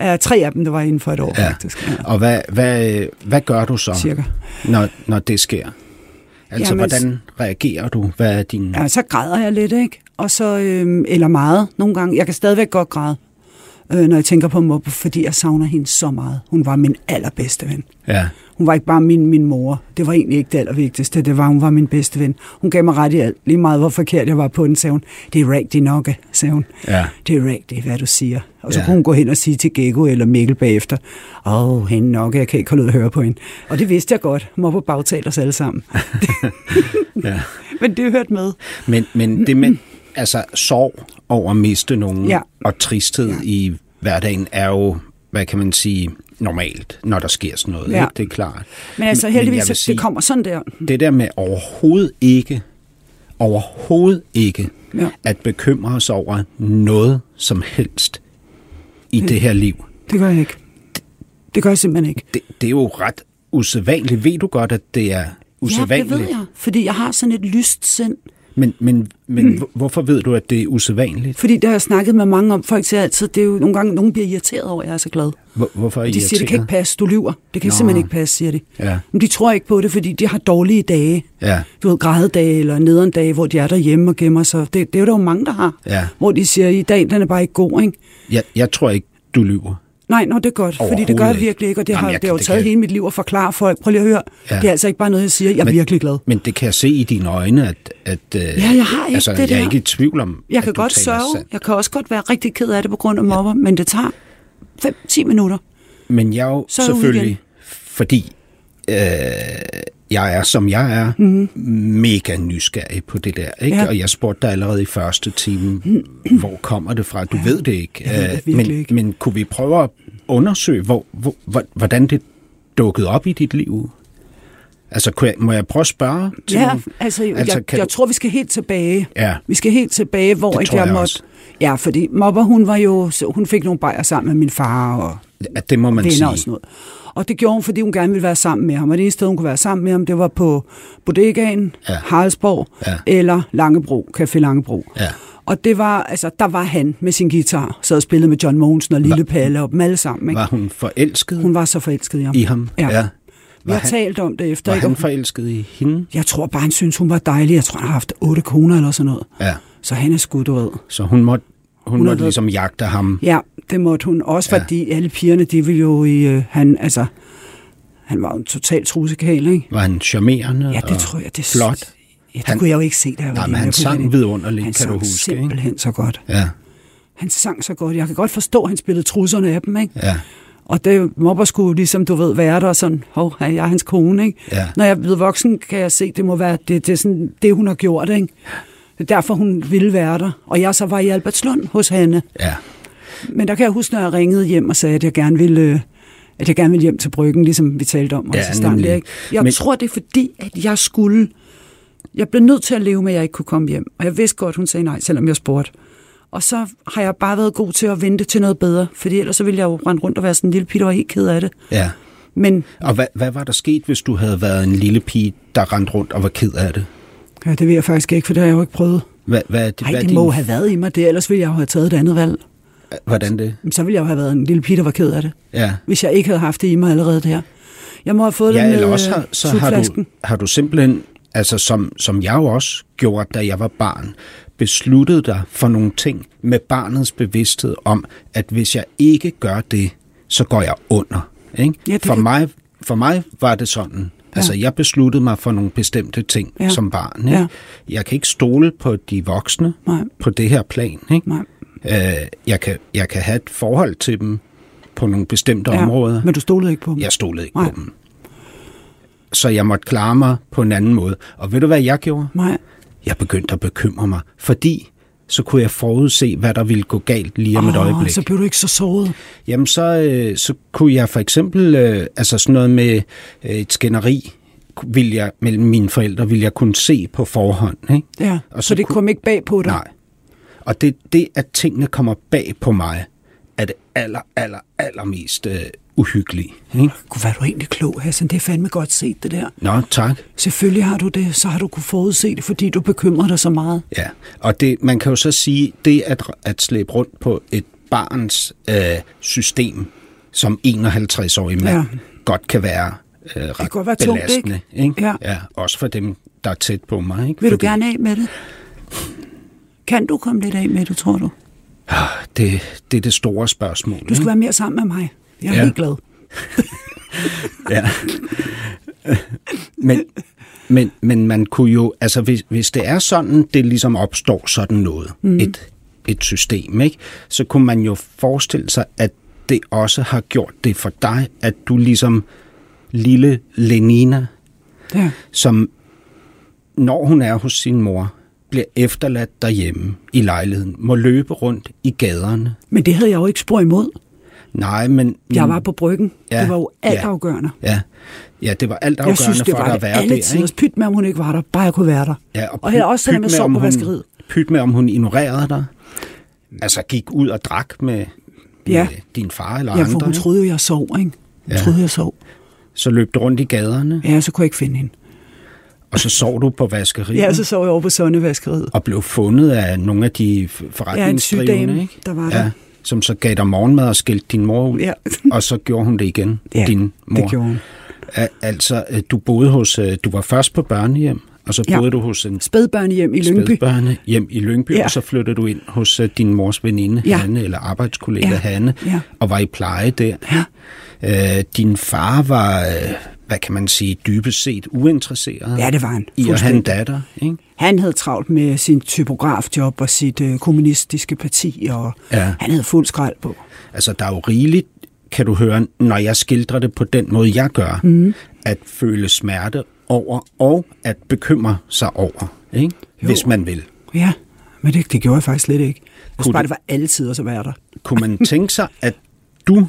Speaker 3: Uh, tre af dem, der var inden for et år, ja. faktisk. Ja.
Speaker 2: Og hvad, hvad, hvad gør du så,
Speaker 3: Cirka.
Speaker 2: når, når det sker? Altså, Jamen,
Speaker 3: Jamen, s-
Speaker 2: hvordan reagerer du? Hvad er din...
Speaker 3: Ja, så græder jeg lidt, ikke? Og så, øhm, eller meget nogle gange. Jeg kan stadigvæk godt græde, øh, når jeg tænker på Mobbe, fordi jeg savner hende så meget. Hun var min allerbedste ven.
Speaker 2: Ja.
Speaker 3: Hun var ikke bare min, min mor. Det var egentlig ikke det allervigtigste. Det var, hun var min bedste ven. Hun gav mig ret i alt. Lige meget, hvor forkert jeg var på den, sagde hun. Det er rigtigt nok, sagde hun.
Speaker 2: Ja.
Speaker 3: Det er rigtigt, hvad du siger. Og så
Speaker 2: Ja.
Speaker 3: ja. kunne hun gå hen og sige til Gekko eller Mikkel bagefter, åh, oh, hende nok, jeg kan ikke holde ud at høre på hende. Og det vidste jeg godt. Hun var på bagtalt os alle sammen.
Speaker 2: ja.
Speaker 3: Men det hørte med.
Speaker 2: Men, men det med altså, sorg over at miste nogen
Speaker 3: Mm. Ja.
Speaker 2: og tristhed ja. i hverdagen er jo, hvad kan man sige, normalt, når der sker sådan noget.
Speaker 3: Ja.
Speaker 2: Ikke? Det er klart.
Speaker 3: Men altså
Speaker 2: Men- men
Speaker 3: heldigvis,
Speaker 2: jeg vil
Speaker 3: men
Speaker 2: sige-
Speaker 3: det kommer sådan der.
Speaker 2: det der med overhovedet ikke, overhovedet ikke, ja.
Speaker 3: Ja.
Speaker 2: at bekymre os over noget som helst i
Speaker 3: Mm.
Speaker 2: det her liv,
Speaker 3: Det gør jeg ikke. Det gør jeg simpelthen ikke.
Speaker 2: det, det er jo ret usædvanligt. Ved du godt, at det er usædvanligt?
Speaker 3: Ja, det ved jeg. Fordi jeg har sådan et lyst sind.
Speaker 2: Men, men, men mm. hvorfor ved du, at det er usædvanligt?
Speaker 3: Fordi der har jeg snakket med mange om, folk siger altid, det er jo nogle gange, nogen bliver irriteret over, at jeg er så glad.
Speaker 2: Hvor, hvorfor er I
Speaker 3: De siger, det kan ikke
Speaker 2: irriteret?
Speaker 3: passe, du lyver. Det kan
Speaker 2: Nå.
Speaker 3: Nå. simpelthen ikke passe, siger de.
Speaker 2: Ja.
Speaker 3: Men de tror ikke på det, fordi de har dårlige dage.
Speaker 2: Ja.
Speaker 3: Du ved, grædedage eller nederen dage, hvor de er derhjemme og gemmer sig. Det, det er der jo mange, der har.
Speaker 2: Ja.
Speaker 3: Hvor de siger, i dag, den er bare ikke god, ikke?
Speaker 2: Jeg, jeg tror ikke, du lyver.
Speaker 3: Nej, nå, det er godt, fordi det gør
Speaker 2: Overhovedet
Speaker 3: jeg virkelig ikke, og det
Speaker 2: ikke.
Speaker 3: har,
Speaker 2: Jamen, jeg
Speaker 3: det
Speaker 2: kan-
Speaker 3: har jo
Speaker 2: det
Speaker 3: taget
Speaker 2: kan-
Speaker 3: hele mit liv at forklare folk. Prøv lige at høre,
Speaker 2: Ja.
Speaker 3: ja. det er altså ikke bare noget, jeg siger. Jeg er
Speaker 2: Men-
Speaker 3: virkelig glad.
Speaker 2: Men det kan jeg se i dine øjne, at... at ja,
Speaker 3: jeg har ikke
Speaker 2: altså,
Speaker 3: det
Speaker 2: jeg er
Speaker 3: der.
Speaker 2: ikke i tvivl om,
Speaker 3: Jeg
Speaker 2: at
Speaker 3: kan
Speaker 2: du
Speaker 3: godt
Speaker 2: taler
Speaker 3: sørge,
Speaker 2: sandt.
Speaker 3: jeg kan også godt være rigtig ked af det på grund af mobber, men det tager 5-10 minutter.
Speaker 2: Men jeg er jo
Speaker 3: Så er jeg ude
Speaker 2: selvfølgelig,
Speaker 3: igen.
Speaker 2: fordi øh, jeg er, som jeg er, mm-hmm. mega nysgerrig på det der. Ikke? Ja.
Speaker 3: Mhm. Ja.
Speaker 2: Og jeg spurgte dig allerede i første time, hvor kommer det fra? Du ja, ved det ikke.
Speaker 3: jeg ved det
Speaker 2: Øh, men,
Speaker 3: virkelig ikke.
Speaker 2: men kunne vi prøve at undersøge, hvor, hvor, hvor, hvordan det dukkede op i dit liv? Altså, kunne jeg, må jeg prøve at spørge til
Speaker 3: Ja,
Speaker 2: nogle-
Speaker 3: altså, altså jeg,
Speaker 2: kan
Speaker 3: jeg
Speaker 2: du-
Speaker 3: tror, vi skal helt tilbage.
Speaker 2: Ja.
Speaker 3: Vi skal helt tilbage, hvor
Speaker 2: Det
Speaker 3: ikke
Speaker 2: tror
Speaker 3: jeg,
Speaker 2: jeg
Speaker 3: måtte...
Speaker 2: også.
Speaker 3: Ja, fordi Mopper, hun var jo... så Hun fik nogle bajer sammen med min far og
Speaker 2: at det må man
Speaker 3: venner
Speaker 2: sige.
Speaker 3: og sådan noget. Og det gjorde hun, fordi hun gerne ville være sammen med ham. Og det eneste sted, hun kunne være sammen med ham, det var på Bodegaen,
Speaker 2: Ja.
Speaker 3: ja. Haraldsborg
Speaker 2: Ja.
Speaker 3: eller Langebro, Café Langebro.
Speaker 2: Ja.
Speaker 3: Og det var, altså, der var han med sin guitar, sad og spillede med John Mogensen og Lille Palle og dem alle sammen. Ikke?
Speaker 2: Var hun forelsket hun
Speaker 3: Hun var så forelsket i ham.
Speaker 2: i ham?
Speaker 3: Ja. ja. Vi
Speaker 2: Var,
Speaker 3: har
Speaker 2: han,
Speaker 3: talt om det efter.
Speaker 2: var
Speaker 3: ikke?
Speaker 2: han
Speaker 3: Og hun-
Speaker 2: forelsket i hende?
Speaker 3: Jeg tror bare, han synes, hun var dejlig. Jeg tror, han har haft otte koner eller sådan noget.
Speaker 2: Ja.
Speaker 3: Så han er sgu, du ved.
Speaker 2: Så hun måtte hun måtte ligesom jagte ham.
Speaker 3: Ja, det måtte hun. Også
Speaker 2: Ja.
Speaker 3: ja. fordi alle pigerne, de ville jo i... Øh, han, altså, han var jo en total trusekæl, ikke?
Speaker 2: Var han charmerende?
Speaker 3: Ja, det
Speaker 2: og
Speaker 3: tror jeg. Det,
Speaker 2: Flot?
Speaker 3: Ja, det
Speaker 2: Han-
Speaker 3: han, kunne jeg jo ikke se, da jeg var
Speaker 2: Nej, men
Speaker 3: lille.
Speaker 2: han
Speaker 3: Jeg kunne
Speaker 2: sang
Speaker 3: ikke-
Speaker 2: vidunderligt,
Speaker 3: han
Speaker 2: kan
Speaker 3: sang
Speaker 2: du huske, ikke?
Speaker 3: simpelthen så godt.
Speaker 2: Ja,
Speaker 3: Han sang så godt. Jeg kan godt forstå, at han spillede trusserne af dem, ikke?
Speaker 2: ja.
Speaker 3: Og det mobber skulle ligesom, du ved, være der og sådan, hov, er jeg er hans kone, ikke?
Speaker 2: Ja.
Speaker 3: Når jeg er blevet voksen, kan jeg se, det må være det, det, er sådan, det hun har gjort, ikke? Det er derfor, hun ville være der. Og jeg så var i Albertslund hos Hanne.
Speaker 2: Ja,
Speaker 3: Men der kan jeg huske, når jeg ringede hjem og sagde, at jeg gerne ville, øh, at jeg gerne ville hjem til bryggen, ligesom vi talte om
Speaker 2: Ja,
Speaker 3: også i starten.
Speaker 2: nemlig.
Speaker 3: Ikke? Jeg
Speaker 2: Men-
Speaker 3: Men... tror, det er fordi, at jeg skulle... Jeg blev nødt til at leve med, at jeg ikke kunne komme hjem. Og jeg vidste godt, hun sagde nej, selvom jeg spurgte. Og så har jeg bare været god til at vente til noget bedre, fordi ellers så ville jeg jo rende rundt og være sådan en lille pige, der var helt ked af det.
Speaker 2: ja.
Speaker 3: Men
Speaker 2: Og hvad, hvad var der sket, hvis du havde været en lille pige, der rendte rundt og var ked af det?
Speaker 3: ja, det ved jeg faktisk ikke, for det har jeg jo ikke prøvet.
Speaker 2: Hvad, hvad,
Speaker 3: Nej,
Speaker 2: hvad er
Speaker 3: det
Speaker 2: din-
Speaker 3: må have været i mig det, ellers ville jeg jo have taget et andet valg.
Speaker 2: Hvordan det?
Speaker 3: Men så ville jeg jo have været en lille pige, der var ked af det,
Speaker 2: Ja.
Speaker 3: hvis jeg ikke havde haft det i mig allerede der. Jeg må have fået det
Speaker 2: Ja,
Speaker 3: med
Speaker 2: eller også har,
Speaker 3: øh,
Speaker 2: så har du,
Speaker 3: sutflasken.
Speaker 2: har du simpelthen, altså som, som jeg jo også gjorde, da jeg var barn, besluttet dig for nogle ting med barnets bevidsthed om, at hvis jeg ikke gør det, så går jeg under. Ikke?
Speaker 3: Ja, det
Speaker 2: for,
Speaker 3: kan-
Speaker 2: mig, for mig var det sådan. Altså, jeg besluttede mig for nogle bestemte ting
Speaker 3: Ja.
Speaker 2: som barn. Ikke?
Speaker 3: Ja.
Speaker 2: Jeg kan ikke stole på de voksne
Speaker 3: Nej.
Speaker 2: på det her plan. Ikke?
Speaker 3: Nej.
Speaker 2: Øh, jeg, kan, jeg kan have et forhold til dem på nogle bestemte
Speaker 3: Ja,
Speaker 2: områder.
Speaker 3: Men du stolede ikke på dem?
Speaker 2: Jeg stolede ikke
Speaker 3: Nej.
Speaker 2: på dem. Så jeg måtte klare mig på en anden måde. Og ved du, hvad jeg gjorde?
Speaker 3: Nej.
Speaker 2: Jeg begyndte at bekymre mig, fordi så kunne jeg forudse, hvad der ville gå galt lige om oh, et øjeblik.
Speaker 3: så blev du ikke så såret.
Speaker 2: Jamen, så, øh, så kunne jeg for eksempel, øh, altså sådan noget med øh, et skænderi, vil jeg, mellem mine forældre, vil jeg kunne se på forhånd. Ikke?
Speaker 3: Ja,
Speaker 2: Og
Speaker 3: og
Speaker 2: så
Speaker 3: så, så det
Speaker 2: kunne-
Speaker 3: kom ikke bag på dig?
Speaker 2: Nej. Og det, det, at tingene kommer bag på mig, er det aller, aller, allermest øh, uhyggelige. Ikke?
Speaker 3: Gud, var du egentlig klog, Hassan. Det er fandme godt set, det der.
Speaker 2: Nå, tak.
Speaker 3: Selvfølgelig har du det, så har du kunne forudse det, fordi du bekymrer dig så meget.
Speaker 2: Ja, og det, man kan jo så sige, det at, at slæbe rundt på et barns øh, system, som 51-årig mand ja.
Speaker 3: Ja.
Speaker 2: godt kan være øh, ret
Speaker 3: kan godt være tungt,
Speaker 2: belastende. Ikke?
Speaker 3: Ja.
Speaker 2: Ja, også for dem, der er tæt på mig. Ikke?
Speaker 3: Vil du
Speaker 2: Fordi-
Speaker 3: gerne af med det? Kan du komme lidt af med det, tror du?
Speaker 2: Ah, Det, det er det store spørgsmål.
Speaker 3: Du skal
Speaker 2: ikke?
Speaker 3: være mere sammen med mig. Jeg er
Speaker 2: Ja.
Speaker 3: ja. helt glad.
Speaker 2: Ja. men, men, men man kunne jo, altså hvis, hvis det er sådan, det ligesom opstår sådan noget, mm. et, et system, ikke? så kunne man jo forestille sig, at det også har gjort det for dig, at du ligesom lille Lenina,
Speaker 3: Ja.
Speaker 2: som når hun er hos sin mor, bliver efterladt derhjemme i lejligheden, må løbe rundt i gaderne.
Speaker 3: Men det havde jeg jo ikke spor imod.
Speaker 2: Nej, men...
Speaker 3: Jeg var på bryggen.
Speaker 2: Mm. Ja.
Speaker 3: Ja. Det var jo
Speaker 2: Ja.
Speaker 3: altafgørende.
Speaker 2: Ja, ja det var alt
Speaker 3: Jeg
Speaker 2: afgørende
Speaker 3: synes, det
Speaker 2: for
Speaker 3: var
Speaker 2: dig at
Speaker 3: det
Speaker 2: være der.
Speaker 3: alle
Speaker 2: Ikke?
Speaker 3: tiders. Pyt med, om hun ikke var der. Bare jeg kunne være der.
Speaker 2: Ja,
Speaker 3: og her
Speaker 2: pyt-
Speaker 3: også, selvom
Speaker 2: pyt
Speaker 3: jeg
Speaker 2: med,
Speaker 3: sov
Speaker 2: om
Speaker 3: på
Speaker 2: hun-
Speaker 3: vaskeriet.
Speaker 2: Pyt med, om hun ignorerede dig. Altså gik ud og drak med,
Speaker 3: Ja.
Speaker 2: med din far eller
Speaker 3: Ja, for
Speaker 2: andre.
Speaker 3: hun
Speaker 2: ikke?
Speaker 3: troede jo, jeg sov, ikke? Hun
Speaker 2: Ja.
Speaker 3: ja. troede, jeg sov.
Speaker 2: Så løb du rundt i gaderne,
Speaker 3: Ja, så kunne jeg ikke finde hende.
Speaker 2: og så sov du på vaskeriet.
Speaker 3: Ja, så sov jeg over på Sonnevaskeriet.
Speaker 2: Og blev fundet af nogle af de f-
Speaker 3: Ja, en
Speaker 2: forretningsdrivende,
Speaker 3: sygdame,
Speaker 2: ikke?
Speaker 3: der var
Speaker 2: ja,
Speaker 3: der.
Speaker 2: som så gav dig morgenmad og skældte din mor ud.
Speaker 3: Ja.
Speaker 2: og så gjorde hun det igen,
Speaker 3: Ja,
Speaker 2: din mor.
Speaker 3: det gjorde hun.
Speaker 2: Al- Altså, øh, du boede hos, øh, du var først på børnehjem, og så
Speaker 3: Ja.
Speaker 2: boede du hos en
Speaker 3: Spædbørnehjem i Lyngby.
Speaker 2: spædbørne hjem i Lyngby, ja.
Speaker 3: Ja.
Speaker 2: og så flyttede du ind hos uh, din mors veninde, ja.
Speaker 3: Ja.
Speaker 2: Hanne, eller arbejdskollega ja.
Speaker 3: Ja.
Speaker 2: Hanne, ja.
Speaker 3: Ja.
Speaker 2: og var i pleje der. Ja. Øh, din far var, øh, hvad kan man sige, dybest set uinteresseret
Speaker 3: Ja, det var han.
Speaker 2: i at have en
Speaker 3: Fuldstændig.
Speaker 2: datter. Ikke?
Speaker 3: Han havde travlt med sin typografjob og sit øh, kommunistiske parti, og
Speaker 2: Ja.
Speaker 3: ja. han havde fuld skrald på.
Speaker 2: Altså, der er jo rigeligt, kan du høre, når jeg skildrer det på den måde, jeg gør,
Speaker 3: Mhm.
Speaker 2: mm. at føle smerte over, og at bekymre sig over, ikke?
Speaker 3: Jo.
Speaker 2: hvis man vil.
Speaker 3: Ja, men det, det gjorde jeg faktisk slet ikke. Jeg
Speaker 2: Kunne
Speaker 3: synes bare,
Speaker 2: du-
Speaker 3: det var altid at være der.
Speaker 2: kunne man tænke sig, at du,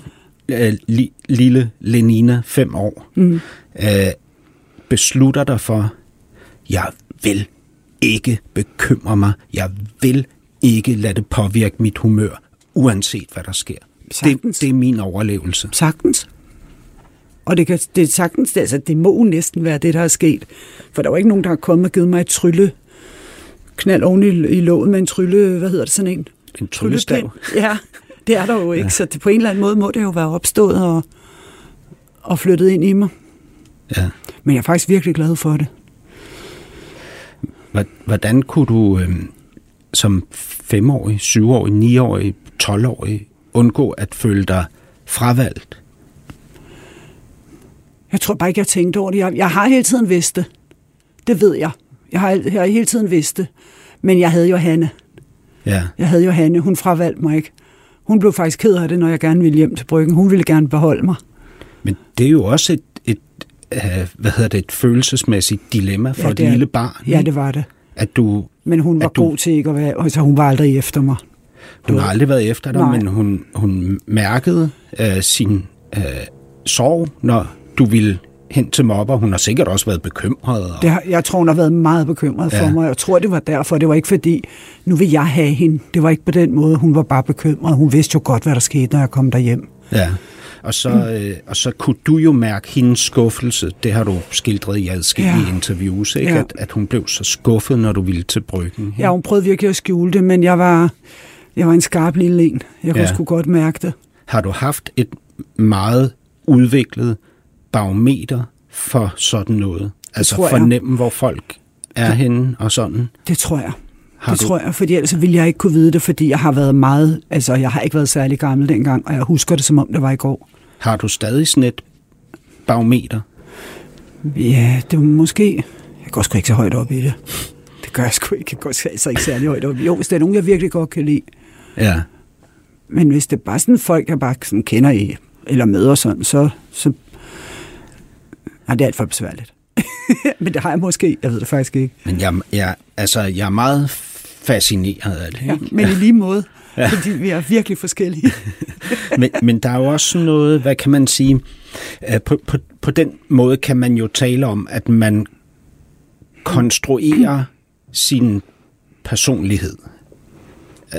Speaker 2: øh, li, lille Lenina, fem år, mm. øh, beslutter dig for, jeg vil ikke bekymre mig, jeg vil ikke lade det påvirke mit humør, uanset hvad der sker. Det,
Speaker 3: Sagtens.
Speaker 2: det er min overlevelse.
Speaker 3: Sagtens. Og det, kan, det er sagtens, det, altså, det må næsten være det, der er sket. For der var ikke nogen, der har kommet og givet mig et trylle knald oven i, i låget med en trylle, hvad hedder det sådan en?
Speaker 2: En tryllestav.
Speaker 3: Tryllepind. Ja, det er der jo ikke, ja. så det, på en eller anden måde må det jo være opstået og, og flyttet ind i mig.
Speaker 2: Ja.
Speaker 3: Men jeg er faktisk virkelig glad for det.
Speaker 2: Hva- Hvordan kunne du... Øh, som femårig, syvårig, niårig, tolvårig undgå at føle dig fravalgt?
Speaker 3: Jeg tror bare ikke, jeg tænkte over det. Jeg, jeg har hele tiden vidst det. Det ved jeg. Jeg har, jeg har hele tiden vidst det. Men jeg havde Johanne.
Speaker 2: Ja.
Speaker 3: Jeg havde Johanne. Hun fravalgte mig ikke. Hun blev faktisk ked af det, når jeg gerne ville hjem til Bryggen. Hun ville gerne beholde mig.
Speaker 2: Men det er jo også et, et øh, hvad hedder det, et følelsesmæssigt dilemma for
Speaker 3: Ja,
Speaker 2: ja, et
Speaker 3: det er-
Speaker 2: lille barn.
Speaker 3: Ja,
Speaker 2: ikke?
Speaker 3: det var det.
Speaker 2: At du,
Speaker 3: Men hun var
Speaker 2: At Mm. du-
Speaker 3: god til ikke at være... Altså, hun var aldrig efter mig.
Speaker 2: hun har aldrig været efter dig,
Speaker 3: Nej.
Speaker 2: men hun, hun mærkede øh, sin øh, sorg, når du ville hen til mobber. Hun har sikkert også været bekymret. Og,
Speaker 3: Det har, jeg tror, hun har været meget bekymret for
Speaker 2: Ja.
Speaker 3: mig. Jeg tror, det var derfor. Det var ikke fordi, nu vil jeg have hende. Det var ikke på den måde. Hun var bare bekymret. Hun vidste jo godt, hvad der skete, når jeg kom derhjem.
Speaker 2: Ja. Og så, øh, og så kunne du jo mærke hendes skuffelse. Det har du skildret i adskillige
Speaker 3: Ja.
Speaker 2: ja. interviews, ikke?
Speaker 3: Ja.
Speaker 2: At, at hun blev så skuffet, når du ville til bryggen. ikke?
Speaker 3: Ja, hun prøvede virkelig at skjule det, men jeg var, jeg var en skarp lille en. Jeg kunne
Speaker 2: Ja.
Speaker 3: sgu godt mærke det.
Speaker 2: Har du haft et meget udviklet barometer for sådan noget? Altså
Speaker 3: tror jeg.
Speaker 2: fornemme, hvor folk er henne og sådan?
Speaker 3: Det tror jeg.
Speaker 2: Har
Speaker 3: det
Speaker 2: du-
Speaker 3: tror jeg, fordi ellers ville jeg ikke kunne vide det, fordi jeg har været meget, altså jeg har ikke været særlig gammel dengang, og jeg husker det, som om det var i går.
Speaker 2: Har du stadig sådan et barometer?
Speaker 3: Ja, det var måske, jeg går sgu ikke så højt op i det. Det gør jeg sgu ikke, jeg går sgu altså ikke særlig højt op i Jo, hvis der er nogen, jeg virkelig godt kan lide,
Speaker 2: Ja.
Speaker 3: men hvis det er bare sådan folk, jeg bare sådan kender i, eller møder sådan, så, så Ej, det er alt for besværligt. men det har jeg måske, jeg ved det faktisk ikke.
Speaker 2: Men jeg, jeg, altså, jeg er meget fascineret af det.
Speaker 3: Ja,
Speaker 2: ikke?
Speaker 3: men i lige måde, ja. fordi vi er virkelig forskellige.
Speaker 2: men, men der er jo også sådan noget, hvad kan man sige, øh, på, på, på den måde kan man jo tale om, at man konstruerer sin personlighed, øh,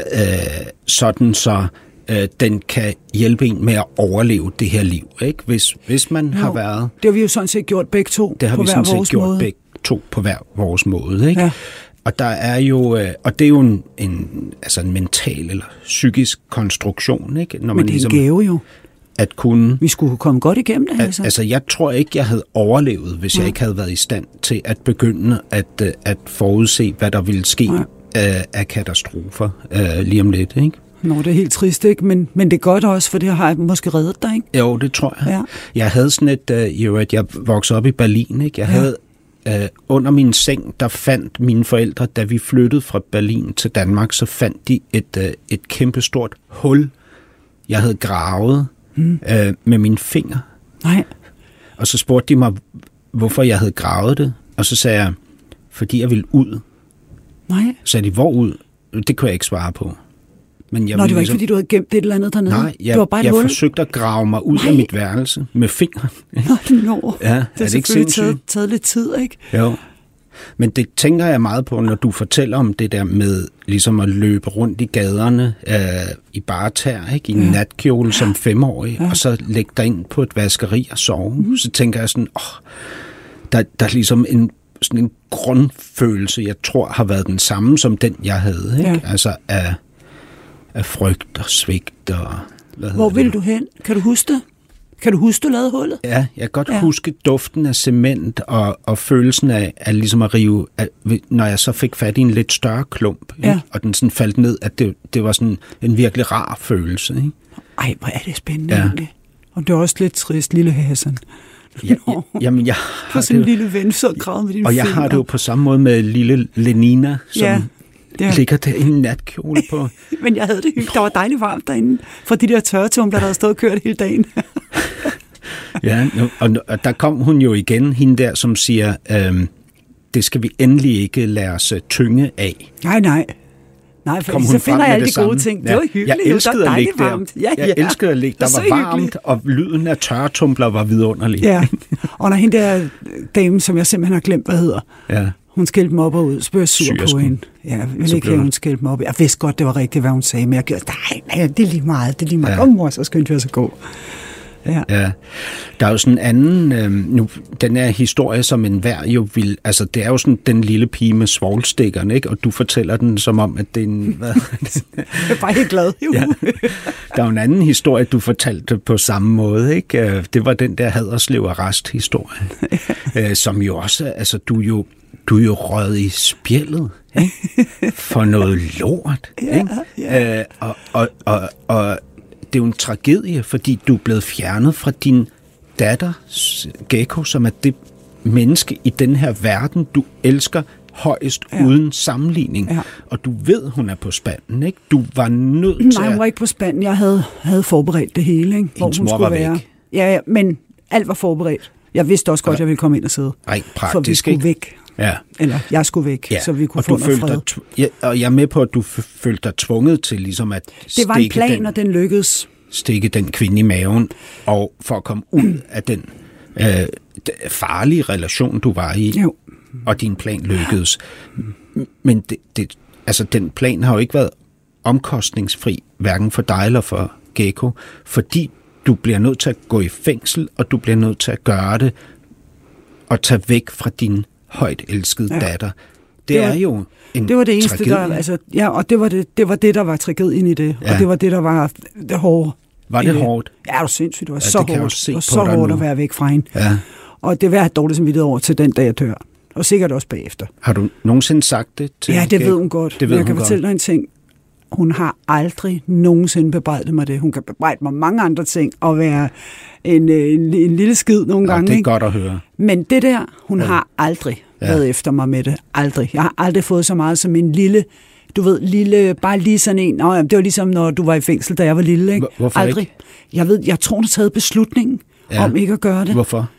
Speaker 2: sådan så øh, den kan hjælpe en med at overleve det her liv, ikke? Hvis, hvis man har
Speaker 3: Jo,
Speaker 2: været
Speaker 3: Det har vi jo sådan set gjort begge to.
Speaker 2: det har
Speaker 3: på
Speaker 2: vi
Speaker 3: hver
Speaker 2: sådan set
Speaker 3: vores
Speaker 2: gjort
Speaker 3: måde.
Speaker 2: begge to på hver vores måde. Ikke?
Speaker 3: Ja.
Speaker 2: Ja. Og der er jo, øh, og det er jo en, en, altså en mental eller psykisk konstruktion, ikke? Når man ligesom
Speaker 3: Men det er en gave jo.
Speaker 2: at kunne...
Speaker 3: Vi skulle komme godt igennem det, altså.
Speaker 2: Altså. altså, jeg tror ikke, jeg havde overlevet, hvis jeg ikke havde været i stand til at begynde at, øh, at forudse, hvad der ville ske
Speaker 3: Nej.
Speaker 2: øh, af katastrofer øh, lige om lidt, ikke?
Speaker 3: Nå, det er helt trist, ikke? Men, men det er godt også, for det har måske reddet dig, ikke?
Speaker 2: Jo, det tror jeg.
Speaker 3: Ja.
Speaker 2: Jeg havde sådan et, øh, jo, at jeg voksede op i Berlin, ikke? Jeg
Speaker 3: Ja.
Speaker 2: ja. havde øh, under min seng, der fandt mine forældre, da vi flyttede fra Berlin til Danmark, så fandt de et, øh, et kæmpestort hul, jeg havde gravet mm. øh, med mine fingre.
Speaker 3: Nej.
Speaker 2: Og så spurgte de mig, hvorfor jeg havde gravet det. Og så sagde jeg, fordi jeg ville ud.
Speaker 3: Nej.
Speaker 2: Så sagde de, hvor ud? Det kunne jeg ikke svare på. Men jeg
Speaker 3: Nå,
Speaker 2: ville ligesom-
Speaker 3: det var ikke, fordi du havde gemt et eller andet dernede.
Speaker 2: Nej, jeg,
Speaker 3: det var bare et
Speaker 2: jeg
Speaker 3: hul.
Speaker 2: forsøgte at grave mig ud Nej.
Speaker 3: Nej.
Speaker 2: af mit værelse med fingre.
Speaker 3: Nå, nå.
Speaker 2: Ja, er
Speaker 3: det
Speaker 2: det
Speaker 3: har
Speaker 2: ikke
Speaker 3: selvfølgelig taget,
Speaker 2: sindssygt?
Speaker 3: taget lidt tid, ikke?
Speaker 2: Jo. Men det tænker jeg meget på, når du fortæller om det der med ligesom at løbe rundt i gaderne øh, i bare tær, ikke? i en ja. natkjole som femårig, ja. og så lægge dig ind på et vaskeri og sove. Mm. Så tænker jeg sådan, åh, der, der er ligesom en, sådan en grundfølelse, jeg tror har været den samme som den, jeg havde. Ikke?
Speaker 3: Ja.
Speaker 2: Altså af, af frygt og svigt og... Hvad
Speaker 3: Hvor
Speaker 2: hedder
Speaker 3: vil
Speaker 2: det?
Speaker 3: du hen? Kan du huske det? Kan du huske, du lavede hullet?
Speaker 2: Ja, jeg kan godt
Speaker 3: Ja.
Speaker 2: ja. huske duften af cement og, og følelsen af, af ligesom at rive, af, når jeg så fik fat i en lidt større klump, ikke?
Speaker 3: Ja.
Speaker 2: og den sådan faldt ned, at det, det var sådan en virkelig rar følelse. Ikke?
Speaker 3: Ej, hvor er det spændende ja.
Speaker 2: Ja.
Speaker 3: egentlig. Og det er også lidt trist, lille Hassan.
Speaker 2: Jeg, jeg,
Speaker 3: Nå.
Speaker 2: jamen, jeg har
Speaker 3: På
Speaker 2: det,
Speaker 3: sin
Speaker 2: jo-
Speaker 3: lille ven, så græd med dine
Speaker 2: og jeg
Speaker 3: fingre.
Speaker 2: har det jo på samme måde med lille Lenina, som
Speaker 3: Ja,
Speaker 2: ja.
Speaker 3: ja.
Speaker 2: Ja. ligger der i en natkjole på.
Speaker 3: Men jeg havde det hyggeligt. Der var dejligt varmt derinde. Fra de der tørretumbler, der havde stået og kørt hele dagen.
Speaker 2: ja, nu- og, og der kom hun jo igen, hende der, som siger, øhm, det skal vi endelig ikke lade os øh, tynge af.
Speaker 3: Nej, nej. Nej, for
Speaker 2: kom
Speaker 3: så
Speaker 2: hun
Speaker 3: finder
Speaker 2: frem
Speaker 3: jeg
Speaker 2: med
Speaker 3: alle de
Speaker 2: det samme.
Speaker 3: gode ting. Det var hyggeligt.
Speaker 2: Jeg elskede
Speaker 3: det var
Speaker 2: at ligge
Speaker 3: dejligt
Speaker 2: der.
Speaker 3: varmt. Ja,
Speaker 2: jeg
Speaker 3: ja.
Speaker 2: elskede at ligge.
Speaker 3: Det
Speaker 2: Der
Speaker 3: så
Speaker 2: var varmt,
Speaker 3: hyggeligt.
Speaker 2: og lyden af tørretumbler var vidunderlig.
Speaker 3: Ja, og når hende der øh, dame, som jeg simpelthen har glemt, hvad hedder,
Speaker 2: ja.
Speaker 3: hun skældte mig op og ud, så blev jeg sur på
Speaker 2: Syersken.
Speaker 3: hende. Ja, jeg ville
Speaker 2: Så
Speaker 3: ikke
Speaker 2: blev
Speaker 3: have,
Speaker 2: du-
Speaker 3: hun skældte mig op. Jeg vidste godt, det var rigtigt, hvad hun sagde, men jeg gjorde, nej, nej, det er lige meget, det er lige meget.
Speaker 2: Ja.
Speaker 3: Kom mor, så skyndte jeg os at gå. Ja.
Speaker 2: Ja. Der er jo sådan en anden, øh, nu, den her historie, som enhver jo vil, altså det er jo sådan den lille pige med svoglstikkerne, ikke? Og du fortæller den som om, at det er en, hvad,
Speaker 3: Jeg er bare helt glad.
Speaker 2: Ja.
Speaker 3: Ja.
Speaker 2: Der er jo en anden historie, du fortalte på samme måde, ikke? Øh, Det var den der Haderslev Arrest historie, øh, som jo også, altså du er jo, du er jo røget i spjældet ikke? for noget lort.
Speaker 3: Ja,
Speaker 2: ikke? Øh, og, og, og, og det er jo en tragedie, fordi du er blevet fjernet fra din datter, s- Gekko, som er det menneske i den her verden, du elsker højst ja. uden sammenligning.
Speaker 3: Ja.
Speaker 2: Og du ved, hun er på spanden, ikke? Du var nødt til
Speaker 3: Nej,
Speaker 2: at...
Speaker 3: hun var ikke på Spanien. Jeg havde, havde forberedt det hele, ikke? hvor hun
Speaker 2: Hendes mor
Speaker 3: skulle
Speaker 2: var væk.
Speaker 3: være. Ja, ja, men alt var forberedt. Jeg vidste også godt, at jeg ville komme ind og sidde.
Speaker 2: Rent
Speaker 3: for vi
Speaker 2: praktisk,
Speaker 3: skulle
Speaker 2: ikke?
Speaker 3: væk.
Speaker 2: Ja.
Speaker 3: Eller jeg skulle væk, ja. så vi kunne
Speaker 2: og
Speaker 3: få
Speaker 2: du
Speaker 3: noget
Speaker 2: følte
Speaker 3: fred.
Speaker 2: dig, tv- ja, og jeg er med på, at du f- følte dig tvunget til ligesom at
Speaker 3: Det var en
Speaker 2: stikke,
Speaker 3: plan,
Speaker 2: den,
Speaker 3: og den lykkedes.
Speaker 2: stikke den kvinde i maven, og for at komme ud af den øh, d- farlige relation, du var i,
Speaker 3: Jo.
Speaker 2: og din plan lykkedes. Men det, det, altså, den plan har jo ikke været omkostningsfri, hverken for dig eller for Gekko, fordi du bliver nødt til at gå i fængsel, og du bliver nødt til at gøre det, og tage væk fra din højt elskede ja. datter. Det, det
Speaker 3: Det
Speaker 2: var,
Speaker 3: var-
Speaker 2: er jo en
Speaker 3: Det var det eneste,
Speaker 2: tragedie.
Speaker 3: der... Altså, ja, og det var det, det var det, der var tragedien i det.
Speaker 2: Ja.
Speaker 3: Og det var det, der var det hårde.
Speaker 2: Var
Speaker 3: i
Speaker 2: det hårdt?
Speaker 3: Ja, altså, det var sindssygt. Det var
Speaker 2: Ja,
Speaker 3: så
Speaker 2: det kan jeg
Speaker 3: hårdt.
Speaker 2: jo se
Speaker 3: Det
Speaker 2: på
Speaker 3: var så
Speaker 2: dig
Speaker 3: hårdt
Speaker 2: nu.
Speaker 3: at være væk fra hende.
Speaker 2: Ja.
Speaker 3: Og det vil jeg have dårligt samvittighed over til den dag, jeg dør. Og sikkert også bagefter.
Speaker 2: Har du nogensinde sagt det til
Speaker 3: Ja, det
Speaker 2: Gekko?
Speaker 3: ved hun godt.
Speaker 2: Det ved
Speaker 3: Men jeg
Speaker 2: hun
Speaker 3: kan
Speaker 2: godt.
Speaker 3: fortælle dig en ting. Hun har aldrig nogensinde bebrejdet mig det. Hun kan bebrejde mig mange andre ting, og være en, øh, en, en lille skid nogle
Speaker 2: Nå,
Speaker 3: gange.
Speaker 2: det er
Speaker 3: ikke?
Speaker 2: godt at høre.
Speaker 3: Men det der, hun ja. har aldrig
Speaker 2: Ja.
Speaker 3: ja. været efter mig med det. Aldrig. Jeg har aldrig fået så meget som en lille, du ved, lille, bare lige sådan en. Nå, jamen, det var ligesom, når du var i fængsel, da jeg var lille, ikke?
Speaker 2: Hvor- hvorfor
Speaker 3: aldrig.
Speaker 2: ikke?
Speaker 3: Jeg ved, jeg tror, hun har taget beslutningen
Speaker 2: Ja.
Speaker 3: ja. om ikke at gøre det.
Speaker 2: Hvorfor?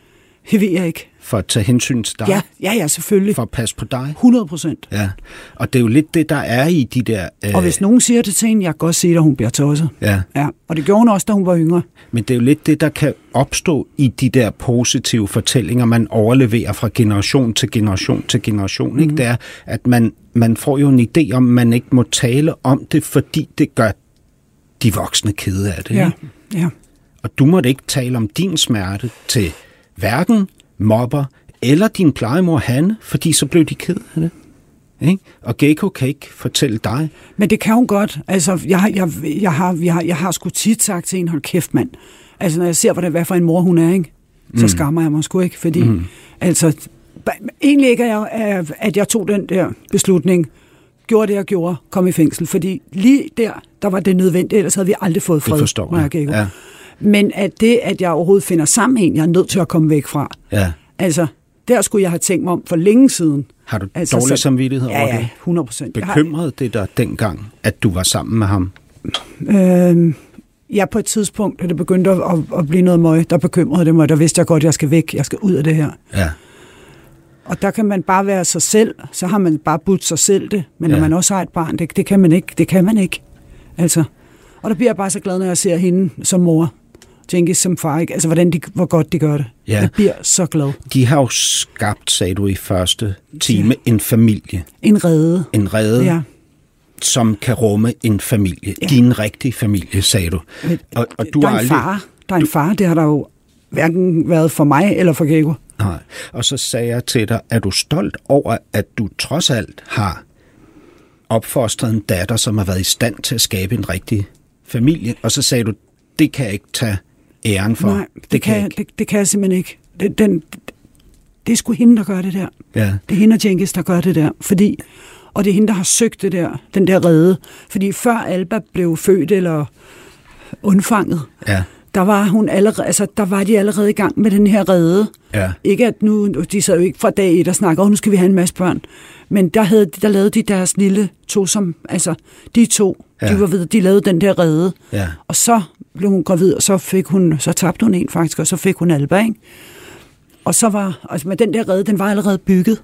Speaker 3: Det ved jeg ikke.
Speaker 2: For at tage hensyn til dig?
Speaker 3: Ja, ja, ja, selvfølgelig.
Speaker 2: For at passe på dig?
Speaker 3: 100 procent.
Speaker 2: Ja, og det er jo lidt det, der er i de der... Øh,
Speaker 3: Og hvis nogen siger det til hende, jeg kan godt se, at hun bliver tosset.
Speaker 2: Ja,
Speaker 3: Ja, og det gjorde hun også, da hun var yngre.
Speaker 2: men det er jo lidt det, der kan opstå i de der positive fortællinger, man overleverer fra generation til generation til generation.
Speaker 3: Mhm.
Speaker 2: Mm. Ikke? Det er, at man, man får jo en idé om, man ikke må tale om det, fordi det gør de voksne kede af det.
Speaker 3: Ja,
Speaker 2: Ikke?
Speaker 3: ja.
Speaker 2: Og du måtte ikke tale om din smerte til hverken mobber eller din plejemor Hanne, fordi så blev de ked af det. Ikke? Og Gekko kan ikke fortælle dig,
Speaker 3: Men det kan hun godt. Altså, jeg, har- jeg, jeg, har, jeg, har, jeg har sgu tit sagt til en, hold kæft mand. Altså, når jeg ser, hvordan, hvad for en mor hun er, ikke? så mm. skammer jeg mig sgu ikke, fordi mm. altså, ba- egentlig ikke, at jeg, at jeg tog den der beslutning, gjorde det, jeg gjorde, kom i fængsel, fordi lige der, der var det nødvendigt, ellers havde vi aldrig fået fred.
Speaker 2: det forstår
Speaker 3: Maja
Speaker 2: jeg.
Speaker 3: Gekko. Men at det, at jeg overhovedet finder sammen med en, jeg er nødt til at komme væk fra,
Speaker 2: ja.
Speaker 3: altså, der skulle jeg have tænkt mig om for længe siden.
Speaker 2: Har du altså,
Speaker 3: Altså,
Speaker 2: dårlig
Speaker 3: så-
Speaker 2: samvittighed
Speaker 3: Ja,
Speaker 2: over det?
Speaker 3: ja, 100 procent.
Speaker 2: Bekymrede det dig dengang, at du var sammen med ham?
Speaker 3: Øh, ja, på et tidspunkt, da det begyndte at, at, at blive noget møg, der bekymrede det mig. Der vidste jeg godt, at jeg skal væk, jeg skal ud af det her.
Speaker 2: Ja.
Speaker 3: Og der kan man bare være sig selv, så har man bare budt sig selv det. Men ja.
Speaker 2: Ja.
Speaker 3: når man også har et barn, det, det kan man ikke. Det kan man ikke. Altså. Og der bliver jeg bare så glad, når jeg ser hende som mor. Jenkins som far, ikke? Altså, hvordan de, hvor godt de gør det.
Speaker 2: Ja.
Speaker 3: Jeg bliver så glad.
Speaker 2: De har jo skabt, sagde du i første time, en familie.
Speaker 3: En redde.
Speaker 2: En rede, ja.
Speaker 3: Ja.
Speaker 2: som kan rumme en familie. Ja. Øh, Din rigtige familie, sagde du. Og, og du
Speaker 3: der
Speaker 2: har
Speaker 3: er en
Speaker 2: aldrig...
Speaker 3: far. Der er en far, det har der jo hverken været for mig eller for Gekko.
Speaker 2: Nej. Og så sagde jeg til dig, er du stolt over, at du trods alt har opfostret en datter, som har været i stand til at skabe en rigtig familie? Og så sagde du, det kan jeg ikke tage æren for.
Speaker 3: Nej, det, det, kan,
Speaker 2: jeg
Speaker 3: jeg,
Speaker 2: ikke.
Speaker 3: det, det kan jeg simpelthen ikke. Det, den, det er sgu hende, der gør det der.
Speaker 2: Ja.
Speaker 3: Det er hende og Jenkins, der gør det der. Fordi, og det er hende, der har søgt det der, den der redde. Fordi før Alba blev født eller undfanget,
Speaker 2: Ja.
Speaker 3: der var, hun allerede, altså, der var de allerede i gang med den her redde.
Speaker 2: Ja.
Speaker 3: Ikke at nu, de sad jo ikke fra dag et og snakkede, åh, nu skal vi have en masse børn. Men der, havde, der lavede de deres lille to, som, altså de to,
Speaker 2: Ja.
Speaker 3: ja. de var ved, de lavede den der redde.
Speaker 2: Ja.
Speaker 3: Og så blev hun gravid, og så, fik hun, så tabte hun en faktisk, og så fik hun Alba, ikke? Og så var, altså med den der redde, den var allerede bygget.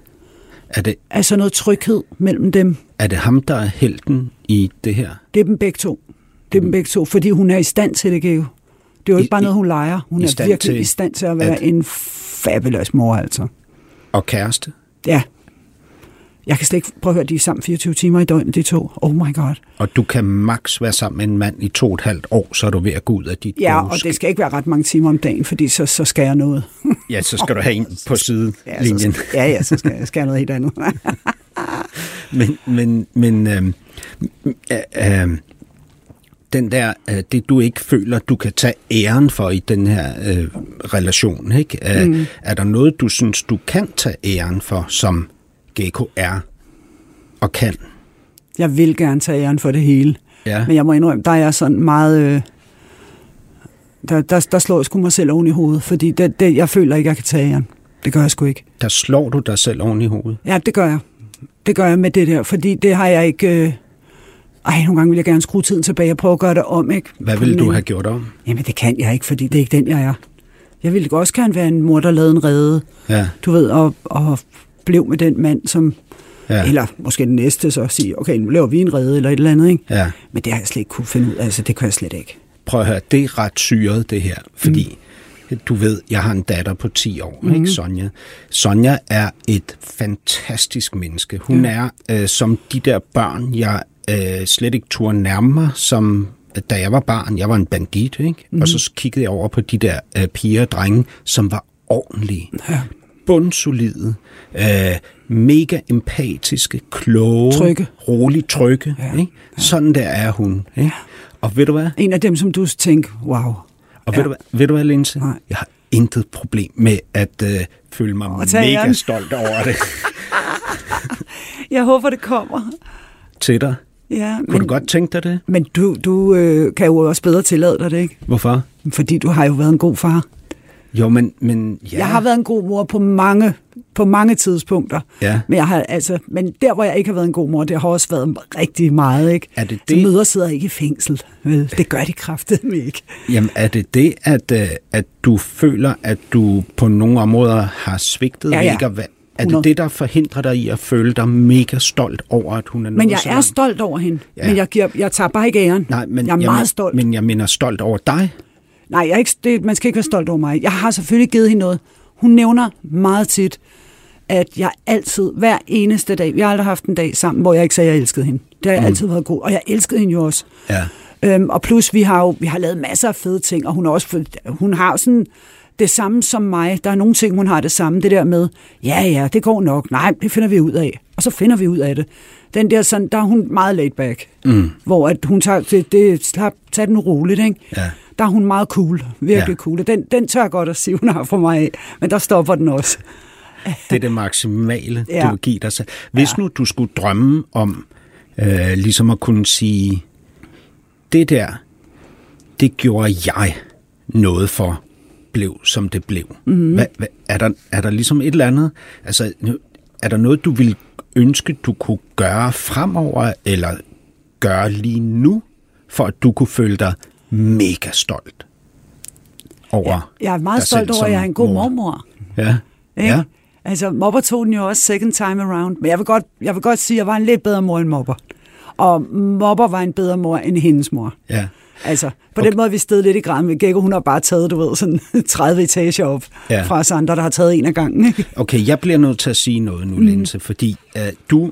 Speaker 2: Er det,
Speaker 3: Altså noget tryghed mellem dem.
Speaker 2: Er det ham, der er helten i det her?
Speaker 3: Det er dem begge to. Det er dem begge to, fordi hun er i stand til det, Geo. Det er jo
Speaker 2: Mm. I-
Speaker 3: ikke bare
Speaker 2: i-
Speaker 3: noget, hun leger. Hun
Speaker 2: i
Speaker 3: er
Speaker 2: stand
Speaker 3: virkelig
Speaker 2: til
Speaker 3: i stand til at være
Speaker 2: at-
Speaker 3: en fabulous mor, altså.
Speaker 2: Og kæreste?
Speaker 3: Ja. Jeg kan slet ikke prøve at høre, de er sammen 24 timer i døgnet, de to. Oh my god.
Speaker 2: Og du kan max være sammen med en mand i to og et halvt år, så er du ved at gå ud af dit
Speaker 3: Ja,
Speaker 2: gode
Speaker 3: og
Speaker 2: skab.
Speaker 3: det skal ikke være ret mange timer om dagen, fordi så, så skal jeg noget.
Speaker 2: Ja, så skal du have en på
Speaker 3: Ja, så,
Speaker 2: sidelinjen.
Speaker 3: skal- ja, ja, så skal, jeg- skal jeg noget helt andet.
Speaker 2: Men, men, men øhm, øh, øh, den der, øh, det du ikke føler, du kan tage æren for i den her øh, relation, ikke? Øh, mm. Er der noget, du synes, du kan tage æren for, som Gekko er og kan?
Speaker 3: jeg vil gerne tage æren for det hele.
Speaker 2: Ja.
Speaker 3: Men jeg må indrømme, der er jeg sådan meget... Øh, der, der, der slår jeg sgu mig selv oven i hovedet, fordi det, det, jeg føler ikke, jeg kan tage æren. Det gør jeg sgu ikke.
Speaker 2: Der slår du dig selv oven i hovedet.
Speaker 3: Ja, det gør jeg. Det gør jeg med det der, fordi det har jeg ikke... Øh... Ej, nogle gange vil jeg gerne skrue tiden tilbage og prøve at gøre det om, ikke?
Speaker 2: Hvad ville du
Speaker 3: Men-
Speaker 2: have gjort om?
Speaker 3: Jamen, det kan jeg ikke, fordi det er ikke den, jeg er. Jeg ville også gerne være en mor, der lavede en rede,
Speaker 2: Ja,
Speaker 3: du ved, og, og blev med den mand, som...
Speaker 2: ja,
Speaker 3: Ja. Eller måske den næste, så sige, okay, nu laver vi en rede eller et eller andet, ikke?
Speaker 2: ja.
Speaker 3: Men det har jeg slet ikke kunne finde ud af, altså det kan jeg slet ikke.
Speaker 2: prøv at høre, det er ret syret det her, fordi mm. du ved, jeg har en datter på 10 år, mm. ikke Sonja? Sonja er et fantastisk menneske. Hun ja. er øh, som de der børn, jeg øh, slet ikke turde nærme mig, som øh, da jeg var barn, jeg var en bandit, ikke? Mm. Og så kiggede jeg over på de der øh, piger og drenge, som var ordentlige. Ja bundsolide, øh, mega empatiske, kloge,
Speaker 3: Trygge.
Speaker 2: rolig trygge. Ja, ikke? Sådan der er hun. Ikke? Og ved du hvad?
Speaker 3: En af dem, som du tænkte, wow,
Speaker 2: Og ja. ved, du, hvad- ved du hvad, Linse?
Speaker 3: Nej.
Speaker 2: Jeg har intet problem med at øh, føle mig
Speaker 3: Og tage
Speaker 2: mega
Speaker 3: æren.
Speaker 2: stolt over det
Speaker 3: jeg håber, det kommer.
Speaker 2: til dig.
Speaker 3: Ja,
Speaker 2: Kunne
Speaker 3: men,
Speaker 2: du godt tænke dig det?
Speaker 3: men du, du øh, kan jo også bedre tillade dig det, ikke?
Speaker 2: Hvorfor?
Speaker 3: Fordi du har jo været en god far.
Speaker 2: Jo, men, men ja.
Speaker 3: Ja. Jeg har været en god mor på mange, på mange tidspunkter.
Speaker 2: Ja.
Speaker 3: Men, jeg har, altså, men der, hvor jeg ikke har været en god mor, det har også været rigtig meget, ikke?
Speaker 2: Er det
Speaker 3: Så
Speaker 2: det?
Speaker 3: mødre sidder ikke i fængsel. Vel? Det gør de kraftedeme ikke.
Speaker 2: Jamen, er det det, at, øh, at du føler, at du på nogle områder har svigtet?
Speaker 3: Ja, ja.
Speaker 2: Mega, hvad? Er det
Speaker 3: 100.
Speaker 2: det, der forhindrer dig i at føle dig mega stolt over, at hun er nået
Speaker 3: Men jeg
Speaker 2: så
Speaker 3: er
Speaker 2: langt?
Speaker 3: stolt over hende.
Speaker 2: Ja.
Speaker 3: Ja. Men jeg, giver, jeg tager bare ikke æren.
Speaker 2: Nej, men
Speaker 3: jeg
Speaker 2: jeg
Speaker 3: er
Speaker 2: men-
Speaker 3: meget stolt.
Speaker 2: Men jeg mener stolt over dig.
Speaker 3: Nej, jeg er ikke, det, man skal ikke være stolt over mig. Jeg har selvfølgelig givet hende noget. Hun nævner meget tit, at jeg altid, hver eneste dag, vi har aldrig haft en dag sammen, hvor jeg ikke sagde, at jeg elskede hende. Det har jeg mm. altid været god, og jeg elskede hende jo også.
Speaker 2: Ja.
Speaker 3: Øhm, og plus, vi har jo vi har lavet masser af fede ting, og hun, er også, fået- hun har jo sådan det samme som mig. Der er nogle ting, hun har det samme. Det der med, ja, ja, det går nok. Nej, det finder vi ud af. Og så finder vi ud af det. Den der sådan, der er hun meget laid back. Mm. Hvor at hun tager, det, det, slap, tag den roligt, ikke?
Speaker 2: Ja.
Speaker 3: Der er hun meget cool. Virkelig
Speaker 2: Ja.
Speaker 3: ja. cool. Og Den, den tør jeg godt at sige, hun har for mig af. Men der stopper den også.
Speaker 2: Det er det maksimale, ja.
Speaker 3: Ja.
Speaker 2: du vil give dig selv. Hvis ja. nu du skulle drømme om øh, ligesom at kunne sige, det der, det gjorde jeg noget for, blev som det blev.
Speaker 3: Mhm.
Speaker 2: Mm-hmm. Hvad, hvad, er, der, er der ligesom et eller andet, altså nu- er der noget, du ville ønske, du kunne gøre fremover, eller gøre lige nu, for at du kunne føle dig mega stolt over
Speaker 3: Jeg er meget
Speaker 2: dig selv
Speaker 3: stolt over,
Speaker 2: som
Speaker 3: at jeg er en god
Speaker 2: mor.
Speaker 3: mormor.
Speaker 2: Ja,
Speaker 3: Ikke?
Speaker 2: ja.
Speaker 3: Ja. Altså, mobber tog den jo også second time around. Men jeg vil godt, jeg vil godt sige, at jeg var en lidt bedre mor end mobber. Og mobber var en bedre mor end hendes mor.
Speaker 2: ja.
Speaker 3: Altså, på okay. den måde er vi stedet lidt i graden med Gekko. Hun har bare taget, du ved, sådan 30 etager op
Speaker 2: Ja.
Speaker 3: ja. fra os andre, der har taget en af gangen. ikke?
Speaker 2: Okay, jeg bliver nødt til at sige noget nu, mm. Linse, fordi øh, du,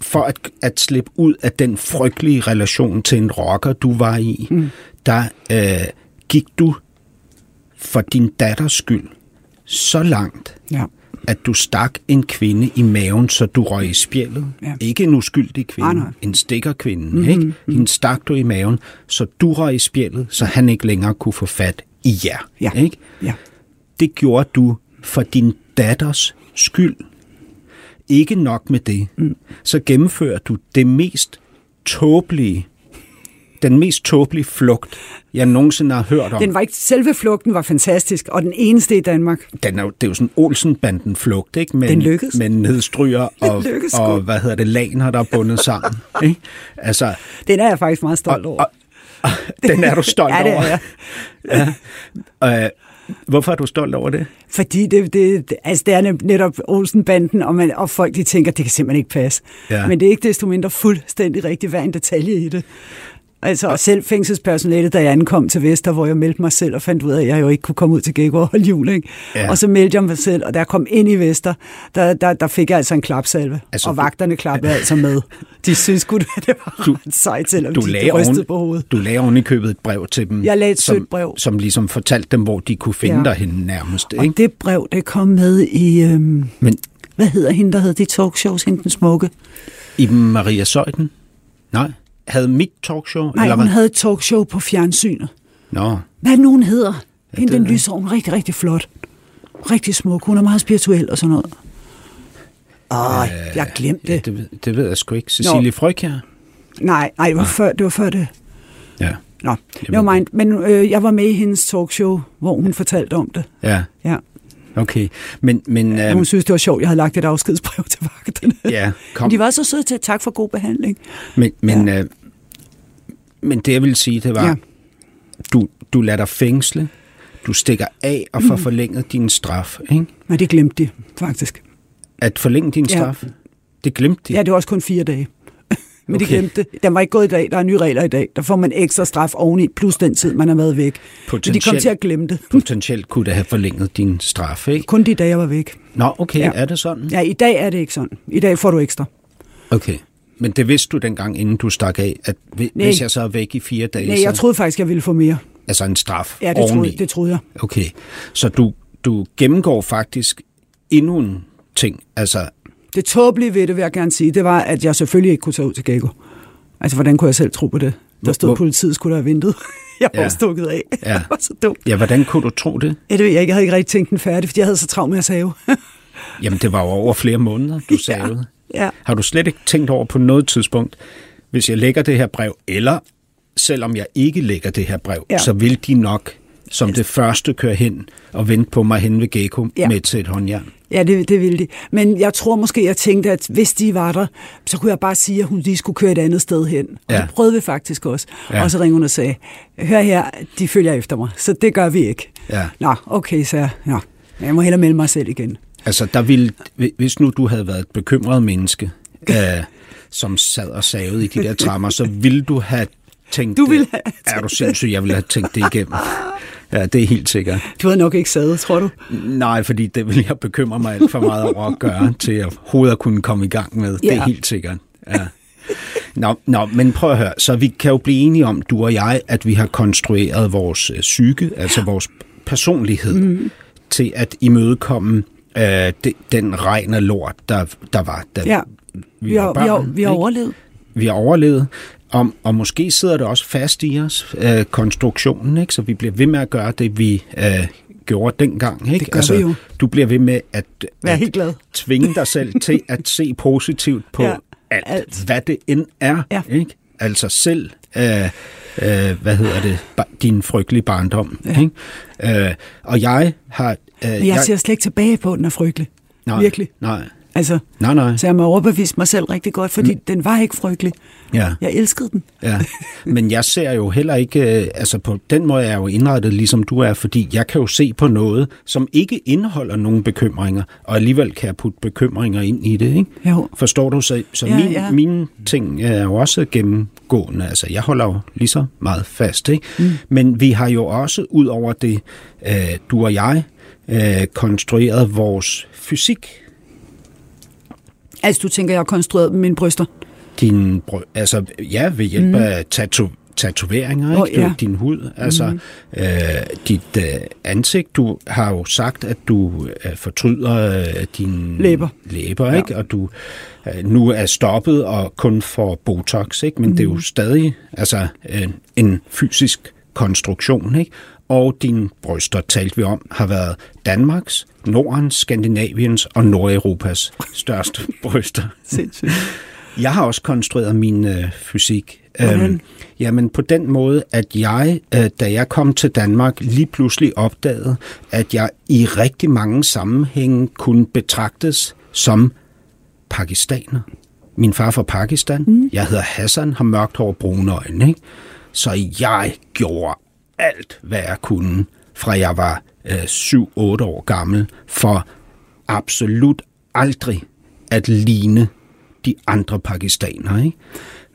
Speaker 2: for at, at slippe ud af den frygtelige relation til en rocker, du var i, mm. der øh, gik du for din datters skyld så langt,
Speaker 3: Ja.
Speaker 2: at du stak en kvinde i maven, så du røg i spjældet.
Speaker 3: Ja.
Speaker 2: Ikke en uskyldig kvinde,
Speaker 3: Nej, nej.
Speaker 2: en stikkerkvinde. Ah, Mm-hmm. Ikke? Hende stak du i maven, så du røg i spjældet, så han ikke længere kunne få fat i jer.
Speaker 3: Ja.
Speaker 2: Ikke?
Speaker 3: ja.
Speaker 2: det gjorde du for din datters skyld. Ikke nok med det, mm. så gennemfører du det mest tåbelige, den mest tåbelige flugt, jeg nogensinde har hørt om.
Speaker 3: Den var ikke, selve flugten var fantastisk, og den eneste i Danmark.
Speaker 2: Den er jo, det er jo sådan Olsen-banden flugt, ikke? Men,
Speaker 3: Den lykkedes.
Speaker 2: Men nedstryger og,
Speaker 3: lykkedes sgu.
Speaker 2: og, hvad hedder det, laner, der er bundet sammen. ikke? Altså,
Speaker 3: Den er jeg faktisk meget stolt over.
Speaker 2: og, og, den er du stolt
Speaker 3: ja, det er
Speaker 2: over.
Speaker 3: jeg.
Speaker 2: Øh, hvorfor er du stolt over det?
Speaker 3: Fordi det, det, det- altså det er nem- netop Olsenbanden, og, man, og folk de tænker, det kan simpelthen ikke passe.
Speaker 2: Ja.
Speaker 3: Men det er ikke desto mindre fuldstændig rigtigt hver en detalje i det. Altså, og selv fængselspersonalet, da jeg ankom til Vester, hvor jeg meldte mig selv og fandt ud af, at jeg jo ikke kunne komme ud til Gekko og holde jul, ikke?
Speaker 2: Ja.
Speaker 3: Ja. Og så meldte jeg mig selv, og da jeg kom ind i Vester, der, der, der fik jeg altså en klapsalve.
Speaker 2: Altså,
Speaker 3: Altså, og
Speaker 2: du-
Speaker 3: vagterne klappede altså med. De synes godt, det var
Speaker 2: Du-
Speaker 3: du, ret sejt, selvom
Speaker 2: Du
Speaker 3: de
Speaker 2: lagde,
Speaker 3: rystede
Speaker 2: oven,
Speaker 3: på hovedet.
Speaker 2: du lagde oven i købet et brev til dem.
Speaker 3: Jeg lagde et
Speaker 2: som,
Speaker 3: sødt brev.
Speaker 2: Som ligesom fortalte dem, hvor de kunne finde ja.
Speaker 3: Ja.
Speaker 2: dig henne nærmest. Ikke?
Speaker 3: Og det brev, det kom med i, øhm,
Speaker 2: Men
Speaker 3: hvad hedder hende, der havde de talkshows, hende den smukke?
Speaker 2: Iben Maria Søjden? Nej. Havde mit talkshow?
Speaker 3: Nej,
Speaker 2: eller
Speaker 3: hun
Speaker 2: hvad?
Speaker 3: havde et talkshow på fjernsynet.
Speaker 2: Nå,
Speaker 3: Hvad er det nu, hun hedder? Ja, hende
Speaker 2: det
Speaker 3: den
Speaker 2: ved jeg
Speaker 3: lyshår, hun er rigtig, rigtig flot. Rigtig smuk. Hun er meget spirituel og sådan noget. Åh, øh, jeg glemte
Speaker 2: ja,
Speaker 3: det.
Speaker 2: det, ved- det ved jeg sgu ikke. Cecilie Frøkjær?
Speaker 3: Nej, nej, det var
Speaker 2: Ah.
Speaker 3: før det. Var før det.
Speaker 2: Ja.
Speaker 3: Nå, never mind. Men øh, jeg var med i hendes talkshow, hvor hun fortalte om det.
Speaker 2: Ja,
Speaker 3: Ja.
Speaker 2: okay. Men, men
Speaker 3: Øhm.
Speaker 2: ja,
Speaker 3: Hun synes, det var sjovt, jeg havde lagt et afskedsbrev til vagterne.
Speaker 2: ja kom.
Speaker 3: Men de var så søde til, tak for god behandling.
Speaker 2: Men, men, ja. øh, men det, jeg ville sige, det var, ja.
Speaker 3: Ja.
Speaker 2: du, du lader dig fængsle, du stikker af og
Speaker 3: Mm.
Speaker 2: får forlænget din straf. Ikke?
Speaker 3: Men det glemte de, faktisk.
Speaker 2: At forlænge din
Speaker 3: Ja.
Speaker 2: straf, det glemte de.
Speaker 3: Ja, det var også kun fire dage. Men okay. de
Speaker 2: Okay.
Speaker 3: glemte det. Den var ikke gået i dag. Der er nye regler i dag. Der får man ekstra straf oveni, plus den tid, man har været væk. Men de kom
Speaker 2: Potentielt.
Speaker 3: til at glemme det.
Speaker 2: Potentielt kunne det have forlænget din straf, ikke?
Speaker 3: Kun de dage, jeg var væk.
Speaker 2: Nå, okay, ja.
Speaker 3: Ja.
Speaker 2: er det sådan?
Speaker 3: Ja, i dag er det ikke sådan. I dag får du ekstra.
Speaker 2: Okay. Men det vidste du dengang, inden du stak af, at hvi-
Speaker 3: Nej.
Speaker 2: hvis jeg så er væk i fire dage,
Speaker 3: Nej, jeg
Speaker 2: så,
Speaker 3: troede faktisk, jeg ville få mere.
Speaker 2: altså en straf
Speaker 3: Ja, det
Speaker 2: oveni.
Speaker 3: troede, det troede jeg.
Speaker 2: Okay, så du, du gennemgår faktisk endnu en ting, altså
Speaker 3: Det tåbelige ved det, vil jeg gerne sige, det var, at jeg selvfølgelig ikke kunne tage ud til Gekko. Altså, hvordan kunne jeg selv tro på det? Der stod,
Speaker 2: hvor-
Speaker 3: hvor? politiet skulle der have ventet. Jeg var
Speaker 2: Ja.
Speaker 3: ja. stukket af.
Speaker 2: Ja.
Speaker 3: Ja. Det var så dumt.
Speaker 2: Ja, hvordan kunne du tro det?
Speaker 3: Ja, det ved jeg ikke. Jeg havde ikke rigtig tænkt den færdig, fordi jeg havde så travlt med at save.
Speaker 2: Jamen, det var jo over flere måneder, du savede.
Speaker 3: ja.
Speaker 2: Har du slet ikke tænkt over på noget tidspunkt, hvis jeg lægger det her brev, eller selvom jeg ikke lægger det her brev, ja.
Speaker 3: Ja.
Speaker 2: så vil de nok som det første køre hen og vente på mig hen ved Gekko ja.
Speaker 3: Ja.
Speaker 2: med til et håndjern.
Speaker 3: Ja, det, det ville de. Men jeg tror måske, jeg tænkte, at hvis de var der, så kunne jeg bare sige, at hun lige skulle køre et andet sted hen. Og
Speaker 2: Ja.
Speaker 3: ja. det prøvede vi faktisk også.
Speaker 2: Ja.
Speaker 3: Ja. Og så ringede hun og sagde, hør her, de følger efter mig, så det gør vi ikke.
Speaker 2: Ja.
Speaker 3: Nå, okay, så jeg, Nå, men jeg må hellere melde mig selv igen.
Speaker 2: Altså, der ville, hvis nu du havde været et bekymret menneske, øh, som sad og savede i de der trammer, så ville du have tænkt
Speaker 3: Du ville
Speaker 2: det.
Speaker 3: have
Speaker 2: Er
Speaker 3: tænkt
Speaker 2: du
Speaker 3: det.
Speaker 2: sindssyg, jeg ville have tænkt det igennem. Ja, det er helt sikkert.
Speaker 3: Du havde nok ikke sad, tror du?
Speaker 2: Nej, fordi det vil jeg bekymre mig alt for meget over at gøre, til at hovedet kunne komme i gang med. Ja. Det er
Speaker 3: Ja.
Speaker 2: helt sikkert. Ja. Nå, nå, men prøv at høre. Så vi kan jo blive enige om, du og jeg, at vi har konstrueret vores øh, psyke, altså vores personlighed, mm. til at imødekomme øh, de, den regn og lort, der, der var, da
Speaker 3: Ja.
Speaker 2: vi,
Speaker 3: Vi
Speaker 2: var
Speaker 3: har,
Speaker 2: børn.
Speaker 3: vi har, vi har
Speaker 2: ikke?
Speaker 3: overlevet.
Speaker 2: vi har overlevet, om, og måske sidder det også fast i os, øh, konstruktionen, ikke? så vi bliver ved med at gøre det, vi øh, gjorde dengang. Ikke? Altså,
Speaker 3: Det gør vi jo.
Speaker 2: Du bliver ved med at,
Speaker 3: Vær
Speaker 2: at
Speaker 3: helt glad.
Speaker 2: tvinge dig selv til at se positivt på ja,
Speaker 3: Ja,
Speaker 2: alt, alt,
Speaker 3: alt.
Speaker 2: hvad det end er.
Speaker 3: Ja.
Speaker 2: Ikke? Altså selv, øh, øh, hvad hedder det, ba- din frygtelige barndom. Ja. Ikke? Øh, og jeg har... Øh,
Speaker 3: Men jeg ser slet ikke tilbage på, at den er frygtelig.
Speaker 2: nej,
Speaker 3: Virkelig.
Speaker 2: Nej,
Speaker 3: Altså,
Speaker 2: nej, nej.
Speaker 3: så jeg må overbevise mig selv rigtig godt, fordi mm. den var ikke frygtelig.
Speaker 2: Ja.
Speaker 3: Jeg elskede den.
Speaker 2: Ja, men jeg ser jo heller ikke, øh, altså på den måde er jeg jo indrettet, ligesom du er, fordi jeg kan jo se på noget, som ikke indeholder nogen bekymringer, og alligevel kan jeg putte bekymringer ind i det, ikke?
Speaker 3: Jo.
Speaker 2: Forstår du? Så, så ja,
Speaker 3: Ja,
Speaker 2: min, ja.
Speaker 3: ja.
Speaker 2: mine ting er jo også gennemgående, altså jeg holder jo lige så meget fast, ikke? Mm. Men vi har jo også, ud over det, øh, du og jeg, øh, konstrueret vores fysik,
Speaker 3: Altså, du tænker, jeg har konstrueret mine bryster.
Speaker 2: din, brø- altså, ja, ved hjælp mm. af tatu, tatoveringer, ikke?
Speaker 3: Mhm. Åh,
Speaker 2: Oh, ja.
Speaker 3: ja. Mhm.
Speaker 2: din hud, altså mm. øh, dit øh, ansigt. Du har jo sagt, at du øh, fortryder øh, dine
Speaker 3: Læber.
Speaker 2: læber ikke? og du øh, nu er stoppet og kun får Botox, ikke? men mm.
Speaker 3: Mhm.
Speaker 2: det er jo stadig altså, øh, en fysisk konstruktion. Ikke? Og dine bryster, talte vi om, har været Danmarks, Nordens, Skandinaviens og Nordeuropas største bryster.
Speaker 3: Sindssygt.
Speaker 2: Jeg har også konstrueret min øh, fysik.
Speaker 3: Hvordan?
Speaker 2: Øhm, jamen på den måde, at jeg, øh, da jeg kom til Danmark, lige pludselig opdagede, at jeg i rigtig mange sammenhænge kunne betragtes som pakistaner. Min far er fra Pakistan. Mm. Jeg hedder Hassan, har mørkt hår og brune øjne. Ikke? Så jeg gjorde alt, hvad jeg kunne, fra jeg var øh, 7-8 år gammel, for absolut aldrig at ligne de andre pakistanere. Ikke?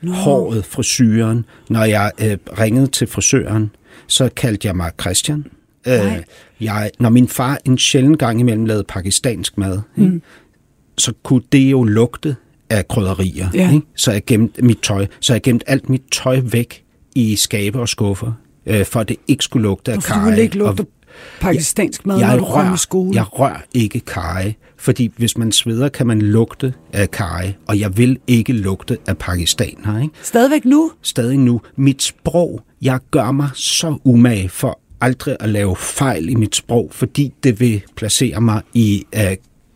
Speaker 2: Nå. håret, frisyren. Når jeg øh, ringede til frisøren, så kaldte jeg mig Christian. Øh,
Speaker 3: Nej.
Speaker 2: jeg, når min far en sjælden gang imellem lavede pakistansk mad, ikke, så kunne det jo lugte af krydderier.
Speaker 3: Ja.
Speaker 2: Ikke? Så jeg gemte mit tøj, så jeg gemte alt mit tøj væk i skabe og skuffer, øh, for at det ikke skulle lugte af
Speaker 3: Hvorfor du
Speaker 2: kaj.
Speaker 3: ville ikke
Speaker 2: og-
Speaker 3: lugte pakistansk mad, når
Speaker 2: jeg
Speaker 3: du kom i skole?
Speaker 2: Jeg rør ikke kaj, fordi hvis man sveder, kan man lugte af kaj, og jeg vil ikke lugte af pakistaner. Ikke?
Speaker 3: Stadigvæk nu?
Speaker 2: Stadig nu, mit sprog, jeg gør mig så umage for aldrig at lave fejl i mit sprog, fordi det vil placere mig i uh,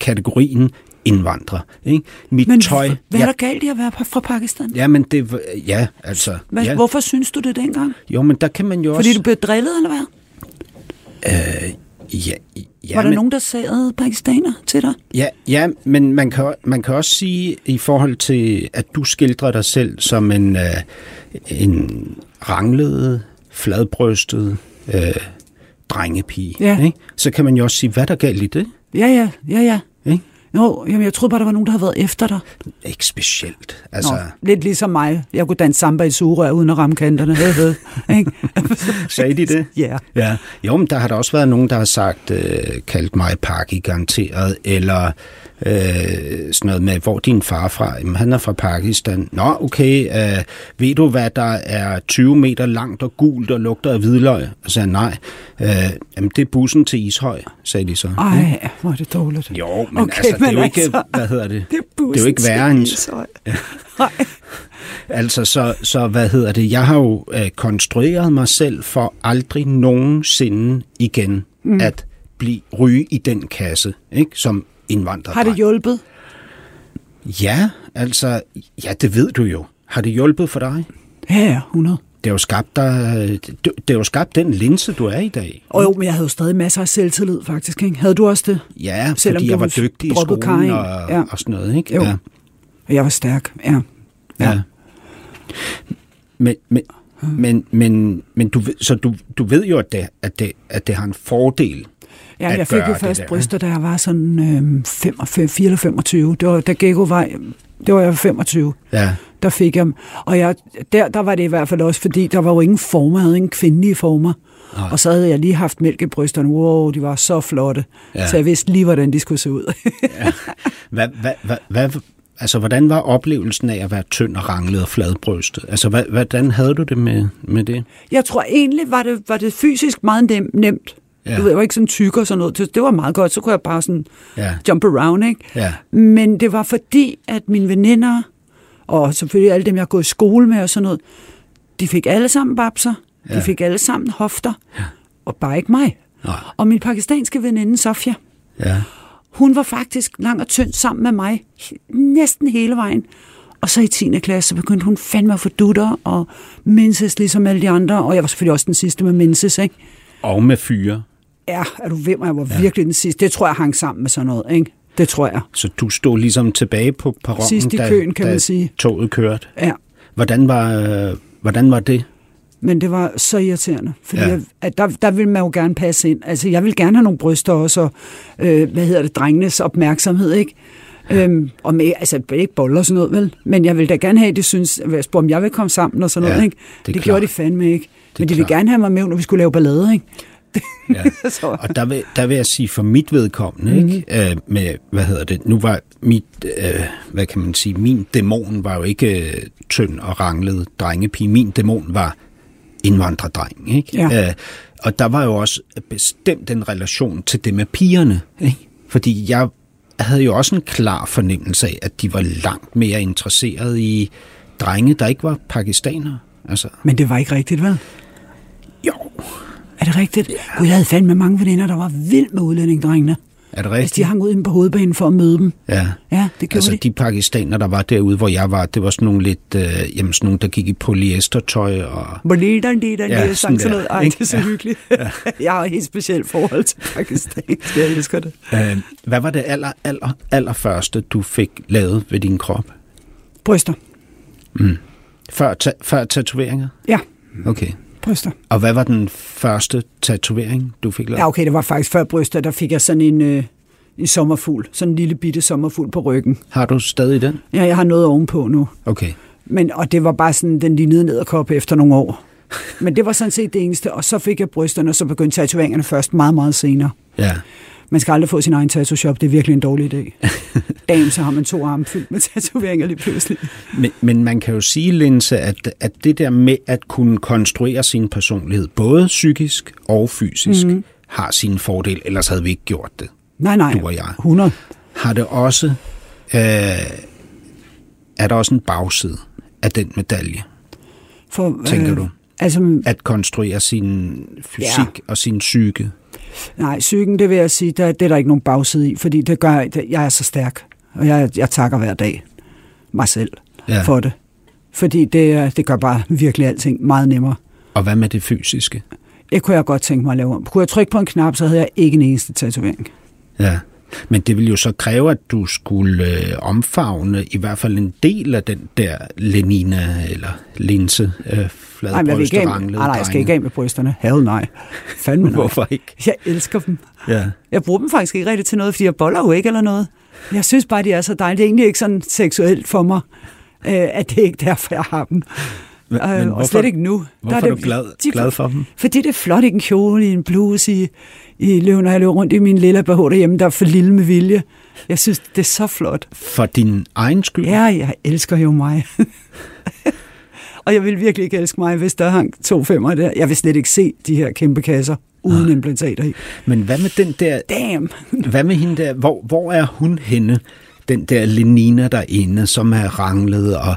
Speaker 2: kategorien indvandrer. Ikke? Mit
Speaker 3: Men
Speaker 2: tøj...
Speaker 3: h- hvad er
Speaker 2: jeg,
Speaker 3: der galt i at være fra Pakistan?
Speaker 2: Ja, men det... var- Ja, altså...
Speaker 3: Hvad,
Speaker 2: ja.
Speaker 3: Hvorfor synes du det dengang?
Speaker 2: Jo, men der kan man jo
Speaker 3: Fordi
Speaker 2: også...
Speaker 3: du blev drillet, eller hvad?
Speaker 2: Ja, ja,
Speaker 3: Var der
Speaker 2: men-
Speaker 3: nogen, der sagde pakistaner til dig?
Speaker 2: Ja, ja men man kan, o- man kan også sige i forhold til, at du skildrer dig selv som en, øh, en ranglet, fladbrystet øh, drengepige.
Speaker 3: Ja.
Speaker 2: Ikke? Så kan man jo også sige, hvad er der galt i det?
Speaker 3: Ja, ja, ja, ja.
Speaker 2: Ikke,
Speaker 3: Jo, jamen, jeg troede bare, der var nogen, der havde været efter dig.
Speaker 2: ikke specielt.
Speaker 3: Nå,
Speaker 2: Altså,
Speaker 3: lidt ligesom mig. Jeg kunne danse samba i sugerør uden at ramme kanterne. Ved, ved. Ikke?
Speaker 2: sagde de det?
Speaker 3: Ja.
Speaker 2: Ja. Jo, men der har der også været nogen, der har sagt, øh, kaldt mig Parki garanteret, eller øh, sådan noget med, hvor er din far fra? Jamen, han er fra Pakistan. Nå, okay, øh, ved du, hvad der er 20 meter langt og gult og lugter af hvidløg? Og så sagde jeg, nej. Øh, jamen, det er bussen til Ishøj, sagde de så.
Speaker 3: Ej, hvor er det dårligt.
Speaker 2: Jo, men altså, det er jo ikke- hvad hedder det? Det er
Speaker 3: Det er,
Speaker 2: jo
Speaker 3: bussen
Speaker 2: ikke værre
Speaker 3: til
Speaker 2: end-
Speaker 3: Ishøj. Nej,
Speaker 2: Altså, så, så hvad hedder det? Jeg har jo øh, konstrueret mig selv for aldrig nogensinde igen mm. at blive ryge i den kasse, ikke? Som indvandrer.
Speaker 3: Har det hjulpet?
Speaker 2: Ja, altså, ja, det ved du jo. Har det hjulpet for dig?
Speaker 3: Ja, ja, 100.
Speaker 2: Det har jo skabt dig, øh, det, det har jo skabt den linse, du er i dag.
Speaker 3: Og jo, men jeg havde jo stadig masser af selvtillid, faktisk. Ikke? Havde du også det?
Speaker 2: Ja,
Speaker 3: Selvom
Speaker 2: fordi
Speaker 3: du
Speaker 2: jeg var
Speaker 3: har
Speaker 2: dygtig i
Speaker 3: droppet
Speaker 2: skolen
Speaker 3: karring,
Speaker 2: og,
Speaker 3: ja.
Speaker 2: og sådan noget, ikke?
Speaker 3: Jo.
Speaker 2: Ja.
Speaker 3: Og jeg var stærk, ja. Ah.
Speaker 2: Ja. Men, men, men, men, men du, ved- så du, du ved jo, at det, at, det, at det har en fordel
Speaker 3: Ja,
Speaker 2: at
Speaker 3: jeg fik
Speaker 2: gøre
Speaker 3: jo
Speaker 2: det
Speaker 3: først
Speaker 2: der,
Speaker 3: bryster, da jeg var sådan øh, 45, 24. Det var, da Gekko var, det var jeg 25.
Speaker 2: Ja,
Speaker 3: Der fik jeg dem. Og jeg, der, der var det i hvert fald også, fordi der var jo ingen former, jeg havde ingen kvindelige former. Nej. Og så havde jeg lige haft mælk i brysterne. Wow, de var så flotte.
Speaker 2: Ja.
Speaker 3: Ja. Så jeg vidste lige, hvordan de skulle se ud.
Speaker 2: Hvad, hvad, hvad, hvad, altså, hvordan var oplevelsen af at være tynd og ranglet og fladbrystet? Altså, hvad, hvordan havde du det med, med det?
Speaker 3: jeg tror egentlig, var det, var det fysisk meget nem, nemt.
Speaker 2: Ja.
Speaker 3: Ja. Du ved, jeg var ikke sådan tyk og sådan noget. Det, det var meget godt, så kunne jeg bare sådan
Speaker 2: Ja.
Speaker 3: jump around, ikke?
Speaker 2: Ja.
Speaker 3: Men det var fordi, at mine veninder, og selvfølgelig alle dem, jeg har gået i skole med og sådan noget, de fik alle sammen babser, ja.
Speaker 2: Ja.
Speaker 3: de fik alle sammen hofter, ja. og bare ikke mig.
Speaker 2: Nej.
Speaker 3: Og min pakistanske veninde, Sofia,
Speaker 2: Ja.
Speaker 3: hun var faktisk lang og tynd sammen med mig he- næsten hele vejen. Og så i 10. klasse, så begyndte hun fandme at få dutter og menses ligesom alle de andre. Og jeg var selvfølgelig også den sidste med menses, ikke?
Speaker 2: Og med fyre.
Speaker 3: Ja, er du ved mig, jeg var ja. virkelig den sidste. Det tror jeg hang sammen med sådan noget, ikke? Det tror jeg.
Speaker 2: Så du stod ligesom tilbage på perronen,
Speaker 3: Sidst i
Speaker 2: da,
Speaker 3: køen, kan
Speaker 2: da
Speaker 3: man sige.
Speaker 2: toget kørte.
Speaker 3: Ja.
Speaker 2: Hvordan var, øh, hvordan var det?
Speaker 3: Men det var så irriterende, fordi
Speaker 2: Ja.
Speaker 3: ja. jeg, at der, der ville man jo gerne passe ind. Altså, jeg ville gerne have nogle bryster også, og øh, hvad hedder det, drengenes opmærksomhed, ikke? Øhm, og med, altså ikke boller og sådan noget, vel? Men jeg ville da gerne have, at de synes, at jeg spurgte, om jeg ville komme sammen og sådan
Speaker 2: Ja,
Speaker 3: noget, ikke?
Speaker 2: det er
Speaker 3: Det, det gjorde
Speaker 2: klart.
Speaker 3: de fandme ikke.
Speaker 2: er
Speaker 3: Men de ville
Speaker 2: klart.
Speaker 3: gerne have mig med, når vi skulle lave ballade, ikke?
Speaker 2: Ja.
Speaker 3: Så-
Speaker 2: Og der vil, der vil jeg sige, for mit vedkommende, mm-hmm.
Speaker 3: Mhm.
Speaker 2: ikke, øh, med, hvad hedder det, nu var mit, øh, hvad kan man sige, min dæmon var jo ikke øh, tynd og ranglet drengepige, min dæmon var indvandrerdreng, ikke?
Speaker 3: Ja.
Speaker 2: Øh, og der var jo også bestemt en relation til det med pigerne, ikke? Fordi jeg havde jo også en klar fornemmelse af, at de var langt mere interesserede i drenge, der ikke var pakistanere. Altså,
Speaker 3: Men det var ikke rigtigt, vel?
Speaker 2: jo,
Speaker 3: Er det rigtigt? Ja. Gud, jeg havde fandme mange veninder, der var vild med udlændingdrengene.
Speaker 2: er det
Speaker 3: Altså, de
Speaker 2: rigtigt?
Speaker 3: hang ud inde på hovedbanen for at møde dem.
Speaker 2: Ja.
Speaker 3: Ja, det gjorde
Speaker 2: altså
Speaker 3: de.
Speaker 2: de pakistanere, der var derude, hvor jeg var, det var sådan nogle lidt, øh, jamen sådan nogle, der gik i polyestertøj og...
Speaker 3: Bolideren, det der,
Speaker 2: Ja,
Speaker 3: ja,
Speaker 2: sådan
Speaker 3: sang sådan
Speaker 2: der,
Speaker 3: noget. Ej,
Speaker 2: ikke?
Speaker 3: det er så hyggeligt. jeg har et helt specielt forhold til Pakistan. Jeg elsker det.
Speaker 2: Øh, hvad var det aller, aller, aller første, du fik lavet ved din krop?
Speaker 3: Bryster.
Speaker 2: Før, ta- før tatoveringer?
Speaker 3: Ja,
Speaker 2: Okay.
Speaker 3: bryster.
Speaker 2: Og hvad var den første tatovering, du fik lavet?
Speaker 3: Ja, okay, det var faktisk før bryster, der fik jeg sådan en, øh, en sommerfugl. Sådan en lille bitte sommerfugl på ryggen.
Speaker 2: Har du stadig den?
Speaker 3: Ja, jeg har noget ovenpå nu.
Speaker 2: Okay.
Speaker 3: Men, og det var bare sådan, den lignede ned og kop efter nogle år. Men det var sådan set det eneste, og så fik jeg brysterne, og så begyndte tatoveringerne først meget, meget senere.
Speaker 2: Ja.
Speaker 3: Man skal aldrig få sin egen tattoo-shop, det er virkelig en dårlig idé. Dagen så har man to arme fyldt med tatoveringer lige pludselig.
Speaker 2: Men, men man kan jo sige, Linse, at, at det der med at kunne konstruere sin personlighed, både psykisk og fysisk, mm-hmm. har sine fordele, ellers havde vi ikke gjort det.
Speaker 3: Nej, nej,
Speaker 2: Du og jeg.
Speaker 3: 100.
Speaker 2: Har det også, øh, er der også en bagside af den medalje,
Speaker 3: For,
Speaker 2: Tænker du?
Speaker 3: Altså,
Speaker 2: at konstruere sin fysik ja. og sin psyke?
Speaker 3: nej, psyken, det vil jeg sige, der, det er der ikke nogen bagside i, fordi det gør, det, jeg er så stærk, og jeg, jeg takker hver dag mig selv
Speaker 2: Ja.
Speaker 3: ja. for det. Fordi det, er- det gør bare virkelig alting meget nemmere.
Speaker 2: Og hvad med det fysiske?
Speaker 3: Det kunne jeg godt tænke mig at lave om. Kunne jeg trykke på en knap, så havde jeg ikke en eneste tatovering.
Speaker 2: Ja. Men det ville jo så kræve, at du skulle øh, omfavne i hvert fald en del af den der Lenina eller linse øh,
Speaker 3: Nej, men jeg vil
Speaker 2: fladbryste
Speaker 3: ikke af med,
Speaker 2: ranglede
Speaker 3: nej, nej, jeg skal ikke
Speaker 2: drenge.
Speaker 3: af med brysterne. Hell nej. Fandme nej.
Speaker 2: Hvorfor ikke?
Speaker 3: Jeg elsker dem.
Speaker 2: Ja.
Speaker 3: Jeg bruger dem faktisk ikke rigtig til noget, fordi jeg boller jo ikke eller noget. Jeg synes bare, de er så dejlige. Det er egentlig ikke sådan seksuelt for mig, øh, at det er ikke derfor, jeg har dem.
Speaker 2: Men,
Speaker 3: Øh,
Speaker 2: men
Speaker 3: og
Speaker 2: hvorfor,
Speaker 3: slet ikke nu. Der
Speaker 2: Hvorfor er,
Speaker 3: det-
Speaker 2: du glad, de, glad for dem?
Speaker 3: Fordi det er flot i en kjole, i en bluse, i, i løb, når jeg løber rundt i min lille BH derhjemme, der er for lille med vilje. Jeg synes, det er så flot.
Speaker 2: For din egen skyld?
Speaker 3: Ja, jeg elsker jo mig. og jeg vil virkelig ikke elske mig, hvis der hang to femmer der. Jeg vil slet ikke se de her kæmpe kasser
Speaker 2: Ah.
Speaker 3: uden implantater i.
Speaker 2: Men hvad med den der...
Speaker 3: Damn!
Speaker 2: Hvad med hende der? Hvor, hvor er hun henne? Den der Lenina derinde, som er ranglet og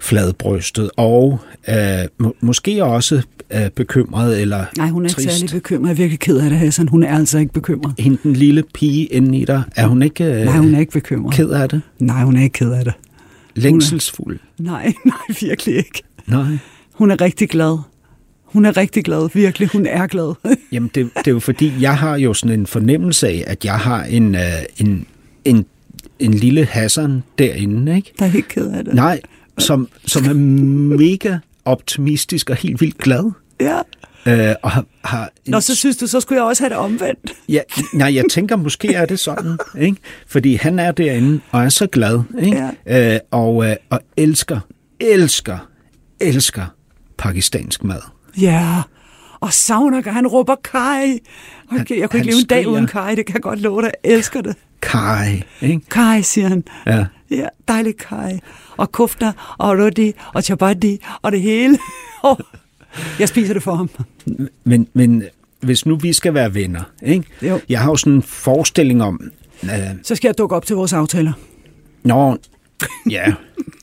Speaker 2: fladbrystet, og øh, må, måske også øh, bekymret eller
Speaker 3: Nej, hun er
Speaker 2: trist.
Speaker 3: ikke særlig bekymret. Jeg er virkelig ked af det, Hassan. Hun er altså ikke bekymret.
Speaker 2: Hende den lille pige inde i dig, er hun ikke øh,
Speaker 3: Nej, hun er ikke bekymret.
Speaker 2: ked af det?
Speaker 3: Nej, hun er ikke ked af det.
Speaker 2: Længselsfuld?
Speaker 3: Nej, nej, virkelig ikke.
Speaker 2: Nej.
Speaker 3: Hun er rigtig glad. Hun er rigtig glad, virkelig. Hun er glad.
Speaker 2: Jamen, det, det er jo fordi, jeg har jo sådan en fornemmelse af, at jeg har en, øh, en, en, en lille Hassan derinde, ikke?
Speaker 3: Der er ikke ked af det.
Speaker 2: Nej, som, som er mega optimistisk og helt vildt glad.
Speaker 3: Ja.
Speaker 2: Øh, og har, har en,
Speaker 3: Nå, så synes du, så skulle jeg også have det omvendt.
Speaker 2: ja, nej, jeg tænker, måske er det sådan, ikke? fordi han er derinde og er så glad, ikke? Ja. Øh, og, øh, og elsker, elsker, elsker pakistansk mad.
Speaker 3: Ja. Og savner, han råber Kai. Okay, jeg
Speaker 2: han
Speaker 3: kunne ikke leve en dag
Speaker 2: skriger.
Speaker 3: uden Kai, det kan jeg godt love dig. Jeg elsker det.
Speaker 2: Kaj, ikke?
Speaker 3: Kai, siger han.
Speaker 2: Ja.
Speaker 3: Ja, dejlig Kai. Og kufter, og rodi, og chabadi, og det hele. Åh, jeg spiser det for ham.
Speaker 2: Men, men hvis nu vi skal være venner, ikke?
Speaker 3: Jo.
Speaker 2: jeg har jo sådan en forestilling om, øh,
Speaker 3: Så skal jeg dukke op til vores aftaler.
Speaker 2: nå, ja,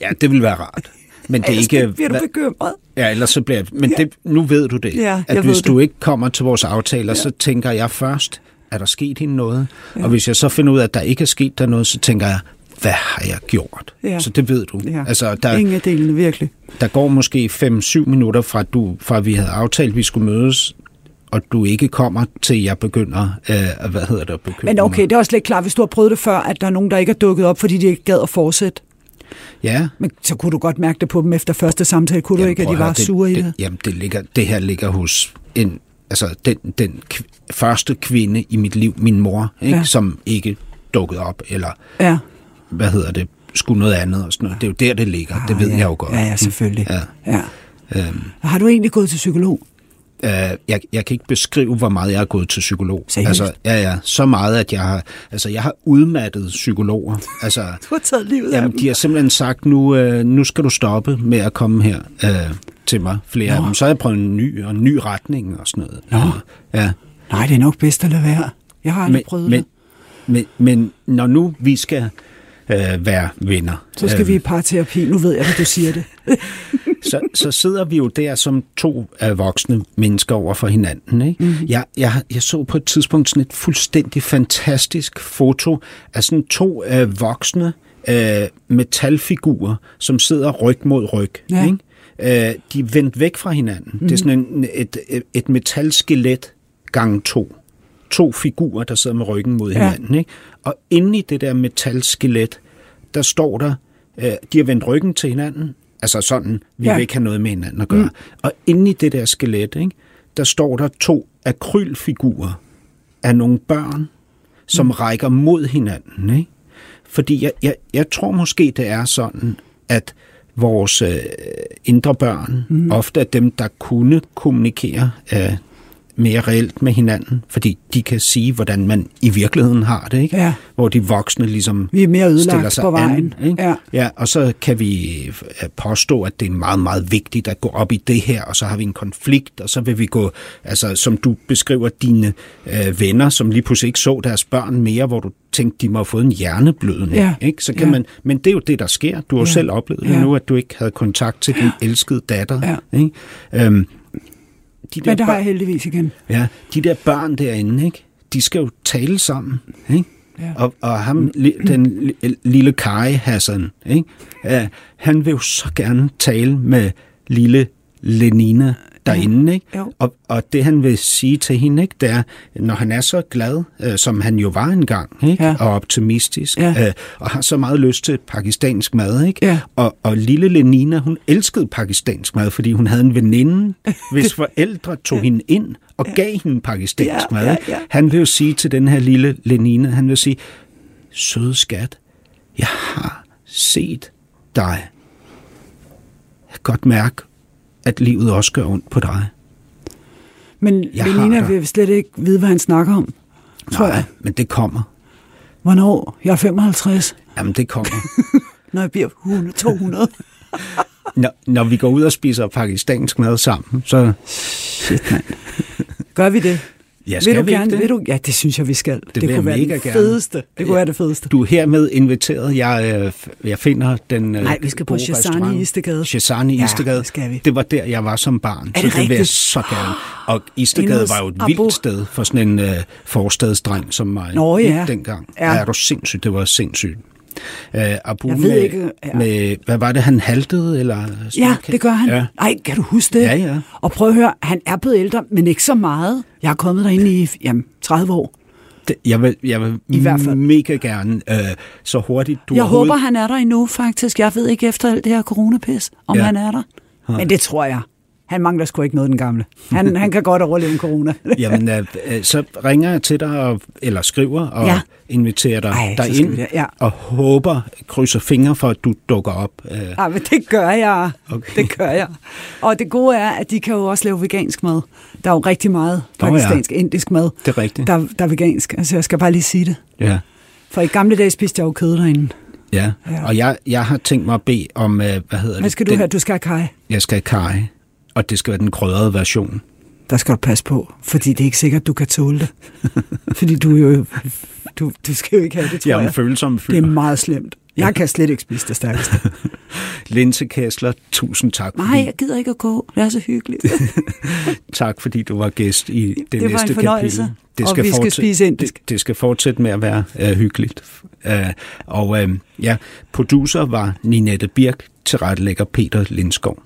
Speaker 2: ja, det ville være rart. Men det er
Speaker 3: Ellers
Speaker 2: ikke...
Speaker 3: altså, Bliver du
Speaker 2: hvad-
Speaker 3: bekymret?
Speaker 2: Ja, ellers så bliver jeg... Men ja. det, nu ved du det.
Speaker 3: Ja, jeg
Speaker 2: at hvis
Speaker 3: ved
Speaker 2: du
Speaker 3: det.
Speaker 2: ikke kommer til vores aftaler, ja. så tænker jeg først, er der sket hende noget? Ja. Og hvis jeg så finder ud af, at der ikke er sket der noget, så tænker jeg, hvad har jeg gjort?
Speaker 3: Ja.
Speaker 2: Så det ved du.
Speaker 3: Ja.
Speaker 2: Altså, der,
Speaker 3: Ingen af delene, virkelig.
Speaker 2: der går måske 5-7 minutter fra, du, fra vi havde aftalt, at vi skulle mødes, og du ikke kommer, til jeg begynder, øh, hvad hedder det, at bekymre
Speaker 3: Men okay, det er også lidt klart, hvis du har prøvet det før, at der er nogen, der ikke er dukket op, fordi de ikke gad at fortsætte.
Speaker 2: mig. Ja.
Speaker 3: Men så kunne du godt mærke det på dem efter første samtale, kunne du ikke, at
Speaker 2: prøv
Speaker 3: de
Speaker 2: høre,
Speaker 3: var
Speaker 2: det,
Speaker 3: sure i
Speaker 2: det,
Speaker 3: det?
Speaker 2: Jamen, det, ligger, det her ligger hos en, altså den, den kv, første kvinde i mit liv, min mor, ikke, ja.
Speaker 3: Ja.
Speaker 2: som ikke dukkede op, eller
Speaker 3: Ja.
Speaker 2: hvad hedder det, skulle noget andet og sådan noget. Det er jo der, det ligger. det ved
Speaker 3: Ah, ja.
Speaker 2: jeg jo godt.
Speaker 3: Ja, ja, selvfølgelig.
Speaker 2: Ja.
Speaker 3: ja.
Speaker 2: Øhm,
Speaker 3: Har du egentlig gået til psykolog?
Speaker 2: øh, jeg, jeg kan ikke beskrive, hvor meget jeg har gået til psykolog.
Speaker 3: Seriøst?
Speaker 2: Altså, ja, ja, så meget, at jeg har, altså, jeg har udmattet psykologer. Altså,
Speaker 3: Du har taget livet af
Speaker 2: Jamen,
Speaker 3: dem.
Speaker 2: de har simpelthen sagt, nu, øh, nu skal du stoppe med at komme her øh, til mig, flere Nå. af dem. Så har jeg prøvet en ny og en ny retning og sådan noget.
Speaker 3: Nå.
Speaker 2: Ja.
Speaker 3: Nej, det er nok bedst at lade være. Jeg har aldrig
Speaker 2: Men,
Speaker 3: men, prøvet
Speaker 2: men,
Speaker 3: det.
Speaker 2: men, men når nu vi skal øh, være venner, øh,
Speaker 3: Så skal vi i parterapi. Nu ved jeg, at du siger det.
Speaker 2: så, så sidder vi jo der som to øh, voksne mennesker over for hinanden. Ikke?
Speaker 3: Mhm.
Speaker 2: Mm-hmm. Jeg, jeg, jeg så på et tidspunkt sådan et fuldstændig fantastisk foto af sådan to øh, voksne øh, metalfigurer, som sidder ryg mod ryg.
Speaker 3: Ja.
Speaker 2: Ikke? Øh, de er vendt væk fra hinanden. Mm-hmm. Det
Speaker 3: Mhm.
Speaker 2: er sådan en, et, et, et metalskelet gang to. To figurer, der sidder med ryggen mod
Speaker 3: Ja.
Speaker 2: hinanden. Ikke? Og inde i det der metalskelet, der står der, øh, de har vendt ryggen til hinanden, altså sådan, vi ja.
Speaker 3: Ja.
Speaker 2: vil ikke have noget med hinanden at gøre. Mm. Og inde i det der skelet, ikke, der står der to akrylfigurer af nogle børn, som mm. rækker mod hinanden. Ikke? Fordi jeg, jeg, jeg tror måske, det er sådan, at vores øh, indre børn, mm. ofte af dem, der kunne kommunikere øh, mere reelt med hinanden, fordi de kan sige, hvordan man i virkeligheden har det, ikke?
Speaker 3: Ja.
Speaker 2: hvor de voksne ligesom
Speaker 3: Vi er mere
Speaker 2: stiller
Speaker 3: ødelagt
Speaker 2: sig
Speaker 3: på vejen.
Speaker 2: An, ikke?
Speaker 3: Ja.
Speaker 2: Ja, og så kan vi øh, påstå, at det er meget, meget vigtigt at gå op i det her, og så har vi en konflikt, og så vil vi gå, altså som du beskriver, dine øh, venner, som lige pludselig ikke så deres børn mere, hvor du tænkte, de må have fået en hjerneblødning.
Speaker 3: Ja.
Speaker 2: Ikke? Så kan
Speaker 3: Ja.
Speaker 2: man, men det er jo det, der sker. Du har ja.
Speaker 3: Ja.
Speaker 2: selv oplevet det
Speaker 3: Ja.
Speaker 2: nu, at du ikke havde kontakt til din elskede datter.
Speaker 3: Ja.
Speaker 2: Ikke? Øhm, de der
Speaker 3: Men det har
Speaker 2: børn-
Speaker 3: jeg heldigvis igen.
Speaker 2: Ja, de der børn derinde, ikke? de skal jo tale sammen. Ikke?
Speaker 3: Ja.
Speaker 2: Og, og ham, li- den li- lille Kai Hassan, ikke? Ja, han vil jo så gerne tale med lille Lenina derinde. Ikke?
Speaker 3: Jo.
Speaker 2: Og, og det han vil sige til hende, ikke, det er, når han er så glad, øh, som han jo var engang, ikke?
Speaker 3: Ja.
Speaker 2: og optimistisk,
Speaker 3: Ja.
Speaker 2: øh, og har så meget lyst til pakistansk mad, ikke?
Speaker 3: Ja.
Speaker 2: Og, og lille Lenina, hun elskede pakistansk mad, fordi hun havde en veninde, hvis forældre tog hende ind og gav hende pakistansk
Speaker 3: Ja,
Speaker 2: mad.
Speaker 3: ja,
Speaker 2: ikke?
Speaker 3: ja.
Speaker 2: Han vil jo sige til den her lille Lenina, han vil sige, søde skat, jeg har set dig. Jeg kan godt mærke, at livet også gør ondt på dig.
Speaker 3: Men
Speaker 2: Jeg har
Speaker 3: Lenina
Speaker 2: dig.
Speaker 3: vil slet ikke vide, hvad han snakker om. Tror
Speaker 2: Nej,
Speaker 3: jeg.
Speaker 2: "Ah, men det kommer.
Speaker 3: Hvornår? Jeg er 55.
Speaker 2: Jamen, det kommer.
Speaker 3: Når jeg bliver 100, 200.
Speaker 2: Når, når vi går ud og spiser pakistansk mad sammen, så
Speaker 3: Shit, mand. Gør vi det?
Speaker 2: ja, skal
Speaker 3: vil du
Speaker 2: vi ikke
Speaker 3: gerne,
Speaker 2: det?
Speaker 3: Vil du, ja, det synes jeg, vi skal.
Speaker 2: vil
Speaker 3: Det, kunne
Speaker 2: jeg
Speaker 3: være
Speaker 2: mega
Speaker 3: det
Speaker 2: gerne.
Speaker 3: fedeste. Det kunne
Speaker 2: Ja.
Speaker 3: være det fedeste.
Speaker 2: Du er hermed inviteret. Jeg, øh, f- jeg finder den øh,
Speaker 3: Nej, vi skal på
Speaker 2: gode
Speaker 3: Shazani
Speaker 2: restaurant.
Speaker 3: i Istegade.
Speaker 2: Shazani i
Speaker 3: Ja,
Speaker 2: Istegade.
Speaker 3: det skal vi.
Speaker 2: Det var der, jeg var som barn.
Speaker 3: Er
Speaker 2: så
Speaker 3: det
Speaker 2: det vil jeg
Speaker 3: rigtigt?
Speaker 2: så gerne. Og
Speaker 3: Inde
Speaker 2: Istegade
Speaker 3: hos
Speaker 2: var jo et
Speaker 3: Abu.
Speaker 2: vildt sted for sådan en øh, forstadsdreng som mig.
Speaker 3: Nå ja.
Speaker 2: Ikke Dengang.
Speaker 3: Ja.
Speaker 2: Ja. Er du sindssygt? Det var sindssygt. Øh, Abu
Speaker 3: Jeg ved
Speaker 2: med,
Speaker 3: ikke, ja.
Speaker 2: med, hvad var det, han haltede? Eller sådan
Speaker 3: Ja,
Speaker 2: noget?
Speaker 3: det gør han.
Speaker 2: Ja.
Speaker 3: Ja. Ej, kan du huske det?
Speaker 2: Ja, ja.
Speaker 3: Og prøv at høre, han er blevet ældre, men ikke så meget. Jeg er kommet derinde i jamen, 30 år.
Speaker 2: Det- Jeg vil, jeg vil
Speaker 3: I hvert fald.
Speaker 2: mega gerne øh, så hurtigt du
Speaker 3: jeg
Speaker 2: overhovedet-
Speaker 3: håber, han er der endnu, faktisk. Jeg ved ikke efter alt det her coronapis, om
Speaker 2: Ja.
Speaker 3: ja. han er der. Men det tror jeg. Han mangler sgu ikke noget, den gamle. Han, han kan godt overleve en corona.
Speaker 2: Jamen, øh, øh, så ringer jeg til dig, og, eller skriver, og ja.
Speaker 3: Ja.
Speaker 2: inviterer dig
Speaker 3: Ej, så skal
Speaker 2: derind,
Speaker 3: vi da- ja.
Speaker 2: og håber, krydser fingre for, at du dukker op. Øh,
Speaker 3: Ej, Ah, men det gør jeg.
Speaker 2: Okay.
Speaker 3: Okay. Det gør jeg. Og det gode er, at de kan jo også lave vegansk mad. Der er jo rigtig meget
Speaker 2: Nå ja.
Speaker 3: pakistansk, indisk mad,
Speaker 2: Det er rigtigt.
Speaker 3: der, der er vegansk. Altså, jeg skal bare lige sige det.
Speaker 2: ja.
Speaker 3: For i gamle dage spiste jeg jo kød derinde.
Speaker 2: Ja. ja,
Speaker 3: Ja.
Speaker 2: og jeg, jeg har tænkt mig at bede om, øh, hvad hedder
Speaker 3: Hvad
Speaker 2: det?
Speaker 3: skal du
Speaker 2: den,
Speaker 3: have? Du skal have kaj.
Speaker 2: Jeg skal have kaj, og det skal være den krødrede version.
Speaker 3: Der skal du passe på, fordi det er ikke sikkert, du kan tåle det. fordi du er jo... Du, du skal jo ikke have det, tror
Speaker 2: Jeg er
Speaker 3: jeg.
Speaker 2: en følsom
Speaker 3: Det
Speaker 2: fyr.
Speaker 3: er meget slemt. Jeg kan slet ikke spise det stærkeste.
Speaker 2: Linse Kessler, tusind tak.
Speaker 3: Nej,
Speaker 2: Fordi,
Speaker 3: jeg gider ikke at gå. Det er så hyggeligt.
Speaker 2: tak, fordi du var gæst i det,
Speaker 3: Det var en
Speaker 2: næste
Speaker 3: fornøjelse,
Speaker 2: kapitel.
Speaker 3: og vi skal spise indisk.
Speaker 2: Det, det skal fortsætte med at være øh, hyggeligt. Øh, og øh, ja, producer var Ninette Birk, tilrettelægger Peter Lindskov.